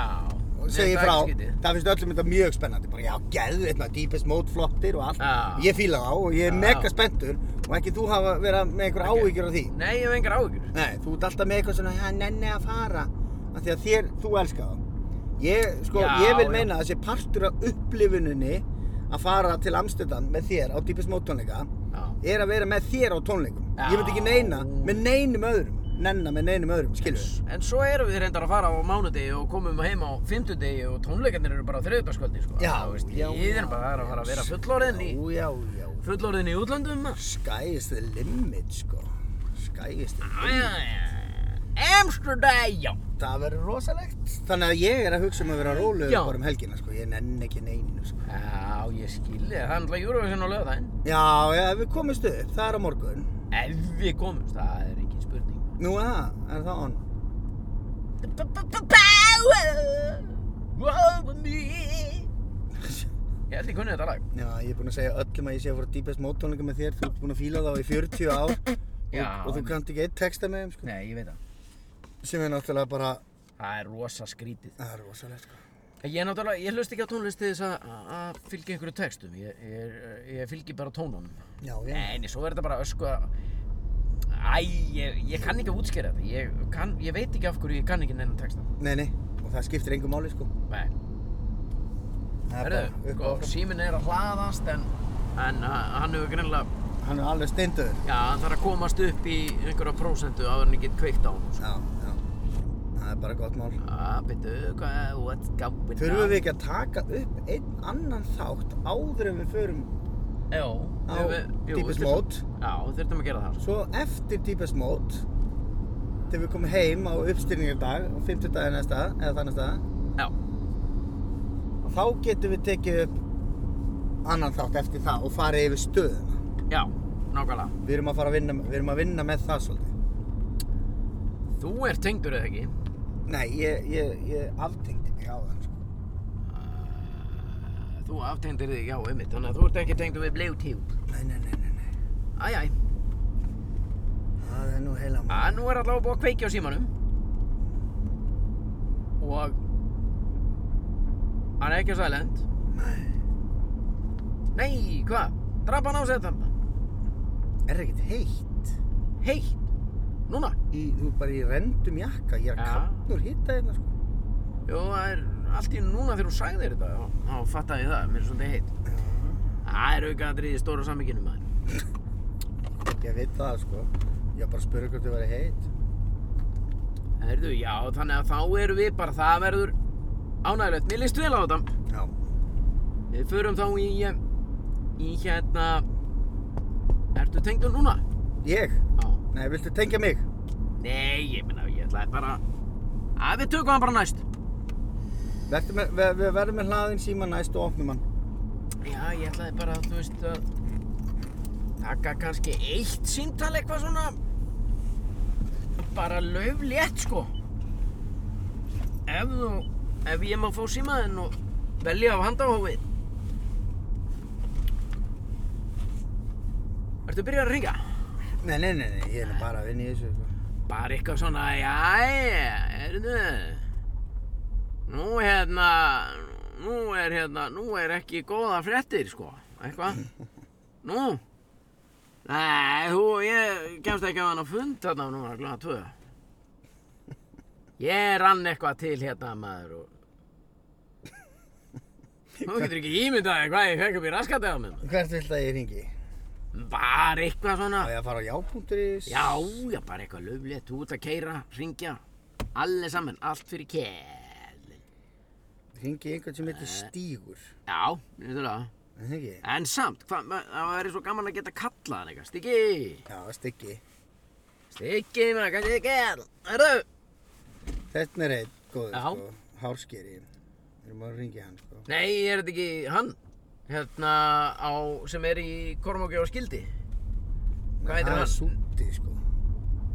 A: þetta er
B: segi frá,
A: ekki skrítið.
B: það finnst öllum þetta mjög spennandi, bara já, geðu þetta Típest Mót flottir og allt,
A: Já.
B: ég fíla þá og ég er
A: Já.
B: mega spenntur og ekki þú hafa verið með einhver
A: Ekki.
B: áhyggjur af því.
A: Nei, ég hef engar áhyggjur.
B: Nei, þú ert alltaf með eitthvað svona, já, nenni að fara, af því að þér, þú elskar það. Ég, sko,
A: Já,
B: ég vil
A: já.
B: meina að þessi partur af upplifuninni að fara til Amsterdam með þér á Deepest Mode tónleika
A: Já.
B: er að vera með þér á tónleikum.
A: Já.
B: Ég veit ekki neina með neinum öðrum, nenna með neinum öðrum, skilur við.
A: En svo erum við reyndar að fara á mánudegi og komum heim á fimmtudegi og tónleikarnir eru bara á þriðudagskvöldi, sko. Þá veist, Við erum bara það er að fara að vera fullorðin í,
B: Já, já, já.
A: fullorðin í útlöndum, maður.
B: Sky is the limit, sko. Sky is the
A: Já, já,
B: limit.
A: já. Amsterdam, já.
B: Það verður rosalegt. Þannig að ég er að hugsa um að vera róluður
A: Já.
B: bara um helgina, sko. Ég nenn ekki neinu, sko.
A: Já, ég skilði það. Það er náttúrulega Eurovision á lögðaðinn.
B: Já, já, ef við komumst upp, það er á morgun.
A: Ef við komumst, það er engin spurning.
B: Nú er það, er það on. [laughs]
A: Ég held ég kunni þetta lag.
B: Já, ég er búinn að segja öllum að ég sé að fara að dýpast móttónleika með þér. Þú ert búinn að fíla þá í 40 ár
A: Já.
B: og, og þú kannt ekki eitt texta með þeim, sko.
A: Nei, ég veit það.
B: Sem er náttúrulega bara,
A: Það er rosa skrítið.
B: það er rosalegt, sko.
A: Ég er náttúrulega, ég hlust ekki á tónlist til þess að, að fylgja einhverju textum. Ég, ég, er- ég fylgi bara tónunum.
B: Já, já.
A: Nei, nei, svo er þetta bara ösku að... Æ, ég, ég kann ekki að útskýra þetta. Ég, kann, ég veit ekki af hverju ég kann ekki neina texta.
B: Nei, nei, og það skiptir engum máli, sko.
A: Nei.
B: Það er bara
A: Herðu,
B: upp
A: sko,
B: og áfram.
A: síminn er að hlaðast en, en uh, hann hefur greinlega,
B: Hann er alveg steinduður.
A: já, hann þarf að komast upp í einhverja prósentu áður en ég get kveikt á sko. hann.
B: Já, já. Það er bara gott mál.
A: Ah, byrju, hvað, what's going
B: Þurfum við ekki að taka upp einn annan þátt áður en við förum
A: Jó,
B: á
A: jú, við- jú,
B: dýpast
A: við
B: mót?
A: þurftum- Já, við þurftum að gera það. sko.
B: Svo eftir Deepest Mode, þegar við komum heim á uppstyrningardag, á 50 daginn eða stað, eða þannig stað,
A: Já,
B: þá getum við tekið upp annan þátt eftir það og farið yfir stöðuna.
A: já, nákvæmlega.
B: Við erum að fara að vinna, við erum að vinna með það svolítið.
A: Þú ert tengdur eða ekki?
B: Nei, ég, ég, ég aftengdi mig á það, sko.
A: Uh, Þú aftengdir þig, já, einmitt, þannig að þú ert ekki tengdur við Bluetooth.
B: Nei, nei, nei, nei, nei.
A: Æ, æ,
B: Það er nú heila
A: að nú er allavega búið að kveikja á símanum. Og hann er ekki á silent. Nei, hvað? Drapa hann á sig þetta?
B: Er ekkert heitt?
A: Heitt? Núna?
B: Í, þú er bara í rendum jakka, ég er að
A: Já.
B: kapnur hitta hérna, sko.
A: Jú, það er, allt í einu núna þegar þú sagðir þetta, þá- þá fattaði ég það, mér er svolítið heitt.
B: sko.
A: Það er aukaatriði í stóra sammygginu maður.
B: Ég veit það sko. Ég bara spurði hvort þið væri heit.
A: Herðu, já, þannig að þá erum við bara, það verður ánægilegt. Mér líst vel á þetta.
B: Já.
A: Við förum þá í, eh, í hérna, ertu tengdur núna?
B: Ég?
A: Já.
B: Nei, viltu tengja mig?
A: Nei, ég minna, ég ætlaði bara, að við tökum hann bara næst.
B: Vertu Með, við, við verðum með hlaðin síma næst og opnum hann.
A: Já, ég ætlaði bara, þú veist, að taka kannski eitt síntal eitthvað svona bara lauflétt, sko. Ef þú, ef ég má fá símaðinn og velja af handahófið. Ertu að byrja að ringa?
B: Nei, nei, nei, nei, ég er nú bara að vinna í þessu sko.
A: Bara eitthvað svona, jæja, heyrðu, nú hérna, nú er hérna, nú er ekki góða fréttir, sko, eitthvað, nú, nei, þú, ég kemst ekki á hann að fund þarna núna, glóða tvö, ég rann eitthvað til hérna, maður, og, nú getur ekki ímyndaði hvað ég fekk upp í raskatega með maður,
B: Hvert vilt að ég ringi?
A: bara eitthvað svona,
B: Á ég að fara á já.is?
A: Já, já, bara eitthvað löflegt, út að keira, ringja, allir saman, allt fyrir kjell.
B: Ringi í einhvern sem heitir Stígur.
A: Já, nýttulega.
B: Er það ekki?
A: En samt, hva, ma- það væri svo gaman að geta kallað hann eitthvað, Stiggi,
B: Já, Stiggi.
A: Stiggi, maður, hvað er kjell? Herðu,
B: Þetta er einn góður
A: Já.
B: sko. Hárskeri. Við erum að ringi hann sko.
A: nei, er þetta ekki hann? Hérna á, sem er í Kormóki á skildi? Hvað heitir
B: Það
A: hann?
B: er Súti sko.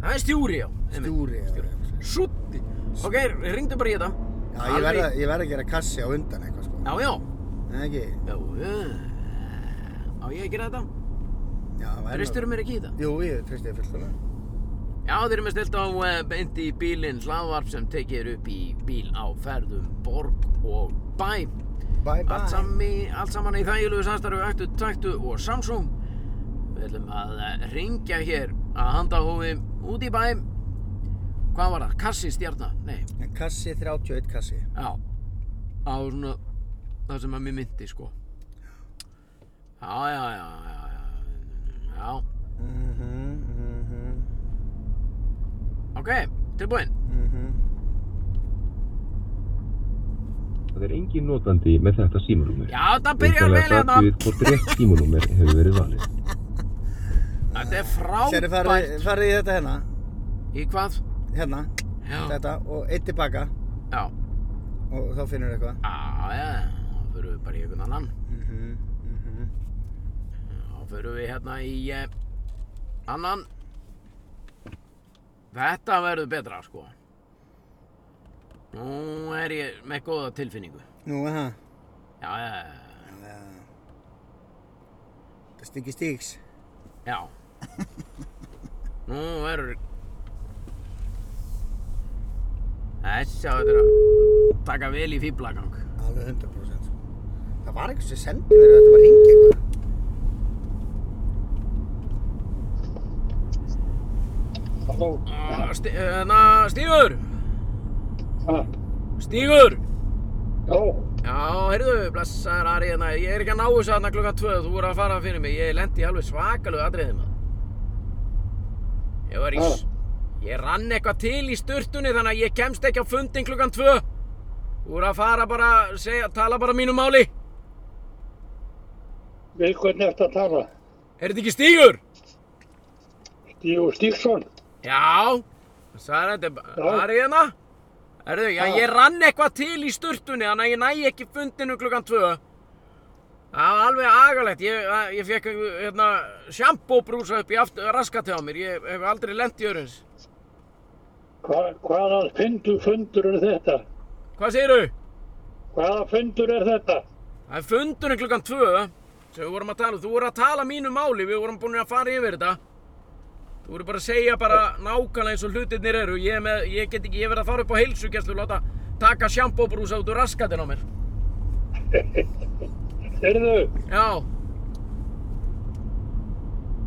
A: Það er stjúri, já.
B: Stjúri. eða eitthvað.
A: Sútti. Ok, ringdu bara í þetta.
B: Já, ég verð, að, ég verð að gera kassi á undan eitthvað sko.
A: Já, já.
B: Nei, ekki?
A: Já, já. Á ég að gera þetta?
B: Já, það væri
A: Treystur
B: nú-
A: mér ekki í þetta?
B: Jú, ég treysti þér fullkomlega.
A: Já, þeir eru með stilt á eh, beint í bílinn hlaðvarp sem tekið er upp í bíl á ferðum borg og bæ.
B: Bye bye.
A: Allt, sami, allt saman í þægilegu samstarfu ættu, taktu og Samsung. Við ætlum að eh, hringja hér að handahófi út í bæ. Hvað var það? Kassi stjarnar? Nei,
B: En kassi 31 kassi.
A: já. Á svona það sem að mér myndi, sko. Já, já, já, já, já. Já,
B: Mhm, mhm,
A: ok, tilbúinn.
B: mhm.
D: Það er engin notandi með þetta símanúmer.
A: Já, þetta byrjar vel
D: Vitanlega
A: hérna.
D: athugið hvort rétt símanúmer hefur verið valið.
A: Þetta er
B: Sérðu
A: frábært.
B: farið, farið í þetta hérna,
A: Í hvað?
B: hérna,
A: Já.
B: þetta og eitt tilbaka
A: Já.
B: og þá finnur eitthvað.
A: Á, já, þá förum við bara í einhvern annan.
B: Mhm, mhm.
A: Þá förum við hérna í eh, annan. Þetta verður betra, sko. Nú er ég með góða tilfinningu.
B: Nú, er það.
A: Já, já,
B: Já. Það stingi stíks.
A: já. Nú verður... Þessa verður að taka vel í fýblagang.
B: Alveg 100% sko. Það var einhvers sem sendi mér að þetta var ringi eitthvað.
E: Halló,
A: Þannig Ah, hérna, Stígur!
E: ha,
A: Stígur!
E: já,
A: Já, heyrðu, blessaður Ari, hérna, ég er ekki að ná þessu hérna klukkan 2, þú voru að fara fyrir mig, ég lendi í alveg svakalegu atriðið maður. Ég var í, s- ég rann eitthvað til í sturtunni þannig að ég kemst ekki á fundin klukkan 2. Þú voru að fara bara, segja, tala bara mínu máli.
E: við hvernig ertu að tala?
A: Er þetta ekki Stígur?
E: Stíu Stíksson,
A: Já, sagði þetta, er bara-
E: Já.
A: Ari hérna. Heyrðu, já,
E: Já.
A: ég rann eitthvað til í sturtunni þannig að ég næ ekki fundinu klukkan 2. Það var alveg agalegt, ég, að- ég fekk hérna, sjampóbrúsa upp í aftur, raskati á mér, ég hef aldrei lent í öruns.
E: Hva, hvaða fundu fundur er þetta?
A: Hvað segirðu?
E: Hvaða fundur er þetta?
A: Það er fundurinn klukkan 2 sem við vorum að tala, um. þú voru að tala mínu máli, við vorum búin að fara yfir þetta. Þú voru bara að segja bara nákvæmlega eins og hlutirnir eru, ég, er með, ég get ekki, ég verð að fara upp á heilsugæslu og láta taka sjampóbrúsa út úr raskatin á mér.
E: Erðu,
A: Já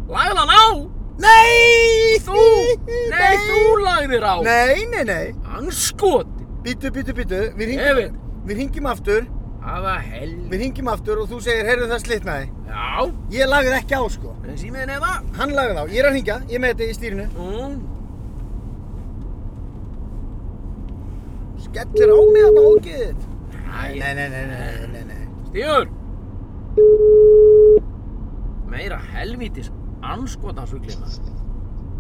A: Lagði hann á? Nei! Þú!
B: [laughs]
A: Nei, þú lagðir á
B: Nei, nei, nei.
A: Hann skoti
B: Bítu, bítu, bítu. Við ringum.
A: Ég veit
B: Við hingjum aftur,
A: Hafa hel...
B: við hingjum aftur og þú segir, heyrðu það slitnaði.
A: Já.
B: Ég lagði ekki á sko.
A: En símiðin eða?
B: Hann lagði á, ég er að hingja, ég er með þetta í stýrinu.
A: Nú,
B: Skellir á mig þarna ógeðið.
A: Æ,
B: Nei, nei, nei, nei, nei, nei.
A: Stígur! Meira helvítis anskotansuglinna.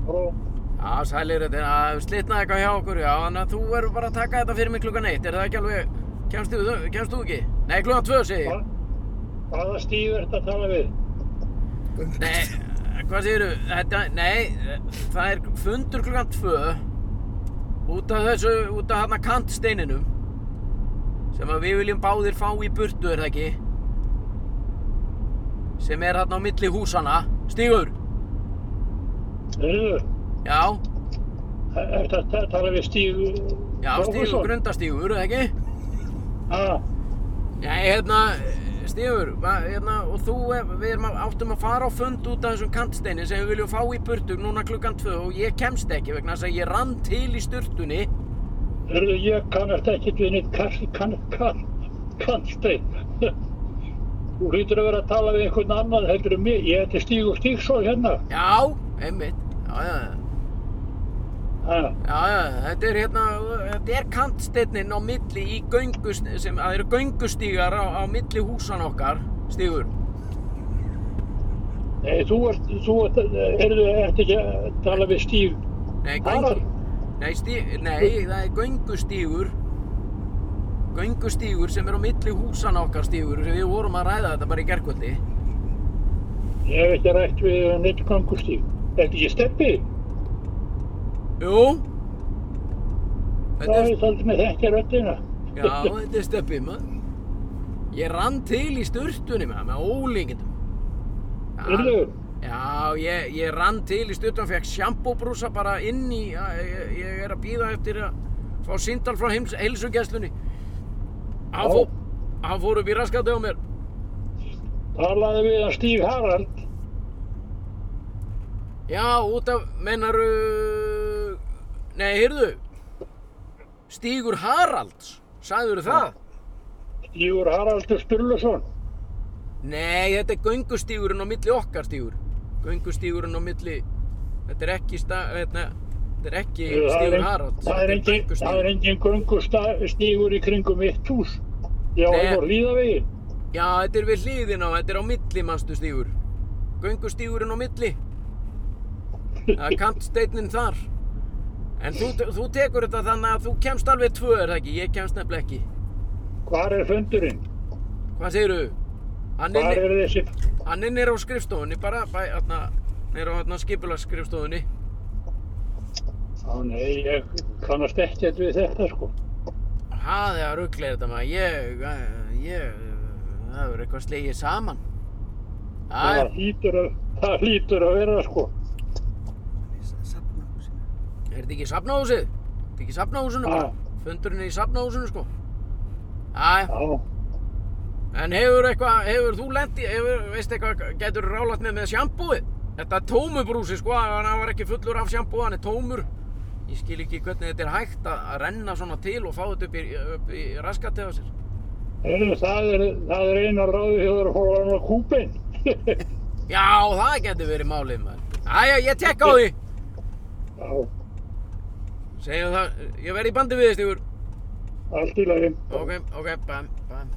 A: Já, sælir, þetta er slitnaði eitthvað hjá okkur, já, þannig að þú verður bara að taka þetta fyrir mig klukkan eitt, er það ekki alveg, kemst þú, kemst þú ekki? Nei, klukkan tvö, segi ég.
E: Hvaða stíf ertu að tala við?
A: Nei, hvað segirðu, þetta, nei, það er fundur klukkan tvö, út af þessu, út af hérna kantsteininum, sem að við viljum báðir fá í burtu, er það ekki? Sem er hérna á milli húsana, Stígur,
E: Heyrðu,
A: já,
E: ertu að ta- tala við stíf...
A: já, Stígur, grundastígur, er það ekki?
E: Ah,
A: Nei, hérna, Stífur, va- hérna, og þú, eh, við erum að, áttum að fara á fund út af þessum kantsteini sem við viljum fá í burtu núna klukkan tvö og ég kemst ekki vegna þess að ég rann til í sturtunni.
E: heyrðu, ég kannast ekkert við neitt kann, kann, kann, kannstein. [laughs] Þú hlýtur að vera að tala við einhvern annan heldur en mig. Ég heiti Stígur Stígsson hérna.
A: Já, einmitt, já, já, já.
E: Ah,
A: já, já, þetta er hérna, þetta er kantsteinnin á milli í göngu, sem, það eru göngustígar á, á milli húsan okkar, Stífur.
E: nei, Eh, þú ert, þú ert, eh, heyrðu, ertu ekki að tala við stíf...
A: Nei,
E: Harald.
A: göngu, nei, stí, nei, það er göngustígur göngustígur sem er á milli húsan okkar stígur sem við vorum að ræða þetta bara í gerkvöldi
E: Ég hef ekki rætt við neitt gangustíf. Ertu ekki steppi?
A: Jú
E: Já,
A: þetta er,
E: ég taldi með þetta röddina.
A: Já, þetta er steppi maður Ég rann til í sturtunni maður með ólíkindum
E: Heyrðu,
A: Já, Já, ég, ég rann til í stuttan, fekk sjampóbrúsa bara inn í, ég, ég er að býða eftir að fá síndal frá heims, heilsugjæslunni. Hann,
E: Já.
A: fó, hann fór upp í raskati á mér.
E: talaði við hann Stíf Harald.
A: Já, út af, mennaru, nei, heyrðu, Stígur Haralds, sagðurðu það?
E: Stífur Haraldur Sturluson.
A: Nei, þetta er göngustígurinn á milli okkar stígur. Göngustígurinn á milli, þetta er ekki, sta, þetta, þetta er ekki
E: Það er
A: Stígur
E: en-
A: Haralds,
E: Það
A: þetta er
E: er engin, það
A: göngustígur.
E: er engin göngustígur í kringum mitt hús. Já,
A: Nei.
E: það voru hlýðavegi.
A: Já, þetta er við hliðina og þetta er á milli, manstu stígur. Göngustígurinn á milli. Það er kantsteinnin þar. En þú, þú tekur þetta þannig að þú kemst alveg tvö, er það ekki? Ég kemst nefnilega ekki.
E: Hvar er fundurinn?
A: Hvað segirðu? Hann
E: Hvar
A: er,
E: er þessi?
A: hann er nýra á skrifstofunni, bara, bæ, hérna, nýra á hérna skipulagsskrifstofunni.
E: Á nei, ég kannast ekkert við þetta sko.
A: Það er að ruggla þetta maður, ég, eh, ég, það verður eitthvað slegið saman. Það
E: Það
A: er,
E: hlýtur að, það hlýtur að vera sko.
B: Safna á sig.
A: er þetta ekki í safnahúsið? Er þetta ekki í safnahúsinu bara? Fundurinn er í safnahúsinu sko. Æ,
E: Já,
A: en hefur eitthvað, hefur þú lent í, hefur, veist eitthvað, getur rálat með með sjambúið? Þetta er tómubrúsi sko, hann hann var ekki fullur af sjambúið, hann er tómur. Ég skil ekki hvernig þetta er hægt að, að renna svona til og fá þetta upp í, upp í raskatið á sér.
E: Heyrðu, það er, það er eina ráði þegar þú fór hann á kúpin.
A: Já, það getur verið málið maður. Æja, ég tek á því.
E: [laughs] Já,
A: Segjum það, ég verð í bandi við þig, Stígur.
E: allt í lagi.
A: Ok, ok, bæm, bæm.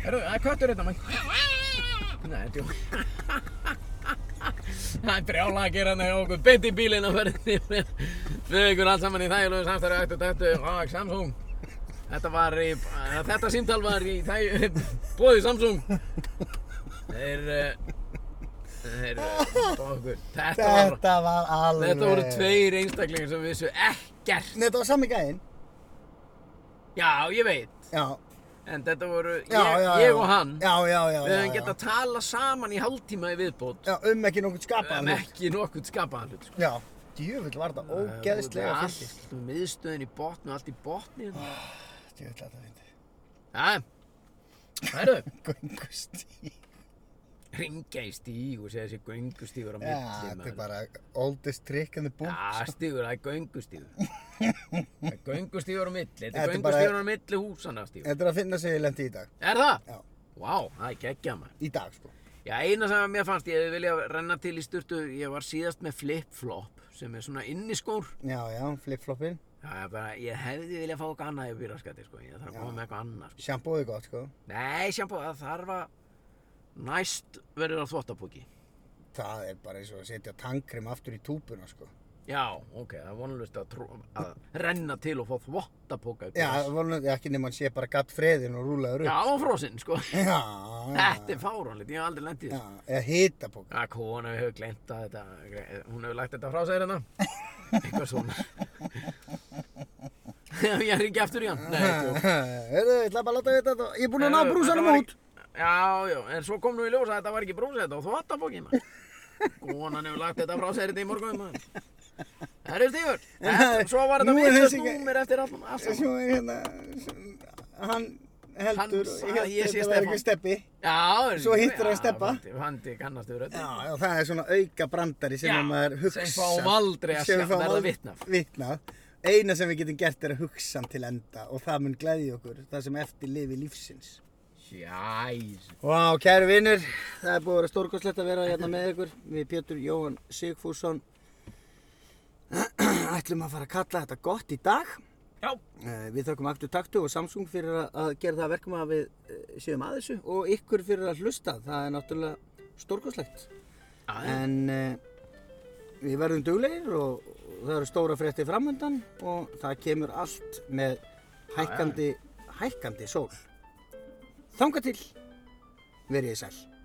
A: Herru, það er köttur hérna, maður. Nei, þetta er [laughs] Það er brjála að gera hérna hjá okkur. Beint í bílinn að verði með við ykkur alls saman í þægilegu samstæri ættu þetta og Samsung. Þetta var í, eh, þetta símtal var í [laughs] þæg, bóði Samsung. Þeir, eh, þeir, bókur. Þetta var,
B: Þetta var alveg...
A: þetta voru tveir einstaklingar sem vissu ekkert.
B: Nei, þetta var sami gæinn.
A: Já, ég veit.
B: Já,
A: En þetta voru ég,
B: já, já, já.
A: ég og hann.
B: Já, já, já,
A: við höfum
B: já,
A: getað að tala saman í hálftíma í viðbót.
B: Já, um ekki nokkuð
A: En
B: skapaðan. hlut.
A: ekki nokkuð skapaðan hlut. sko.
B: Já, djöfull var þetta ógeðslega fyndið.
A: Allt með miðstöðin í botni og allt í botni. hérna.
B: Djöfull var þetta fyndið.
A: Jæja. Herru,
B: Göngustí.
A: ringja í stíg og segja þessi göngustígur á milli
B: Já, þetta er
A: maður.
B: bara oldest trick in the book.
A: Já, stígur, það er
B: [laughs]
A: göngustígur. Það er göngustígur á milli. Þetta
B: Þetta
A: er
B: er bara-
A: göngustígur á milli húsana stígur.
B: Þetta er að finna sig í lendi í dag.
A: Er það?
B: Já.
A: Vá, það er geggjað maður.
B: Í dag, sko.
A: Já, eina sem að mér fannst, ég hefði viljað renna til í sturtu, ég var síðast með flip-flop sem er svona inniskór.
B: Já, já, flip-floppin.
A: Já, ég, bara, ég hefði viljað fá eitthvað annað yfir raskati, sko. Ég þarf að
B: Já.
A: koma með eitthvað annað, sko.
B: Sjampóið er gott, sko.
A: Nei, sjámpó, það þarf að næst verður á þvottapóki.
B: Það er bara eins og að setja tangrim aftur í túbuna, sko.
A: Já, ok, það er vonlust að, trú- að renna til og fá þvottapóka.
B: Já, vonlega ekki nema hann sé bara gatt freðin og rúlaður
A: já,
B: upp.
A: og frosinn, sko.
B: Já, já.
A: [laughs] Þetta er fáránlegt, ég hef aldrei lendið
B: Já,
A: þessu.
B: eða hitabók.
A: Að kona hefur glemt að þetta, hún hefur lagt þetta frá sér
B: [laughs]
A: hérna. Eitthvað svona. [laughs] ég er ekki aftur í hann.
B: [laughs]
A: Nei, djók.
B: Hörru, ég ætla bara að láta þetta. þetta- Ég er búinn að ná
A: Þetta
B: brúsanum
A: var
B: út.
A: ekki- Já, já, en svo kom nú í ljós að þetta var ekki brúsa þetta og þvottabókin,
B: [laughs]
A: maður. Konan hefur lagt þetta frá sér þetta í morgun, maður. Herru
B: [laughs]
A: Stífur, þetta- svo var þetta
B: Nú er
A: vitlaust
B: þessi ekki-
A: númer eftir allan aftur.
B: Svo er hérna, hann heldur,
A: Hann-
B: ég held
A: ég sé
B: þetta var
A: Stefán.
B: eitthvað steppi.
A: Já, er-
B: Svo hittir hann
A: já,
B: Stebba.
A: Vandi- Vandi kannast við
B: Já,
A: þetta.
B: já, það er svona auka brandari sem
A: Já,
B: að maður
A: sem
B: hugsa.
A: fáum aldrei að sjá- verða vitni af.
B: Vitnað. Eina sem við getum gert er að hugsa hann til enda og það mun glæði okkur, það sem eftir lifi lífsins.
A: Jæs.
B: Vá, kæru vinnur, það er búið að vera stórkoslegt að vera hérna með ykkur. Við Pétur Jóhann Sigfússon [clears throat] ætlum að fara að kalla þetta gott í dag.
A: Já.
B: Eh, Við þökkum Aktu Taktu og Samsung fyrir að- að gera það að verkum að við eh, séum að þessu og ykkur fyrir að hlusta. Það er náttúrulega stórkoslegt.
A: Já,
B: En uh, við verðum duglegir og og það eru stóra fréttir framöndan og það kemur allt með hækkandi, hækkandi sól. Þanga til, verið þið sæl.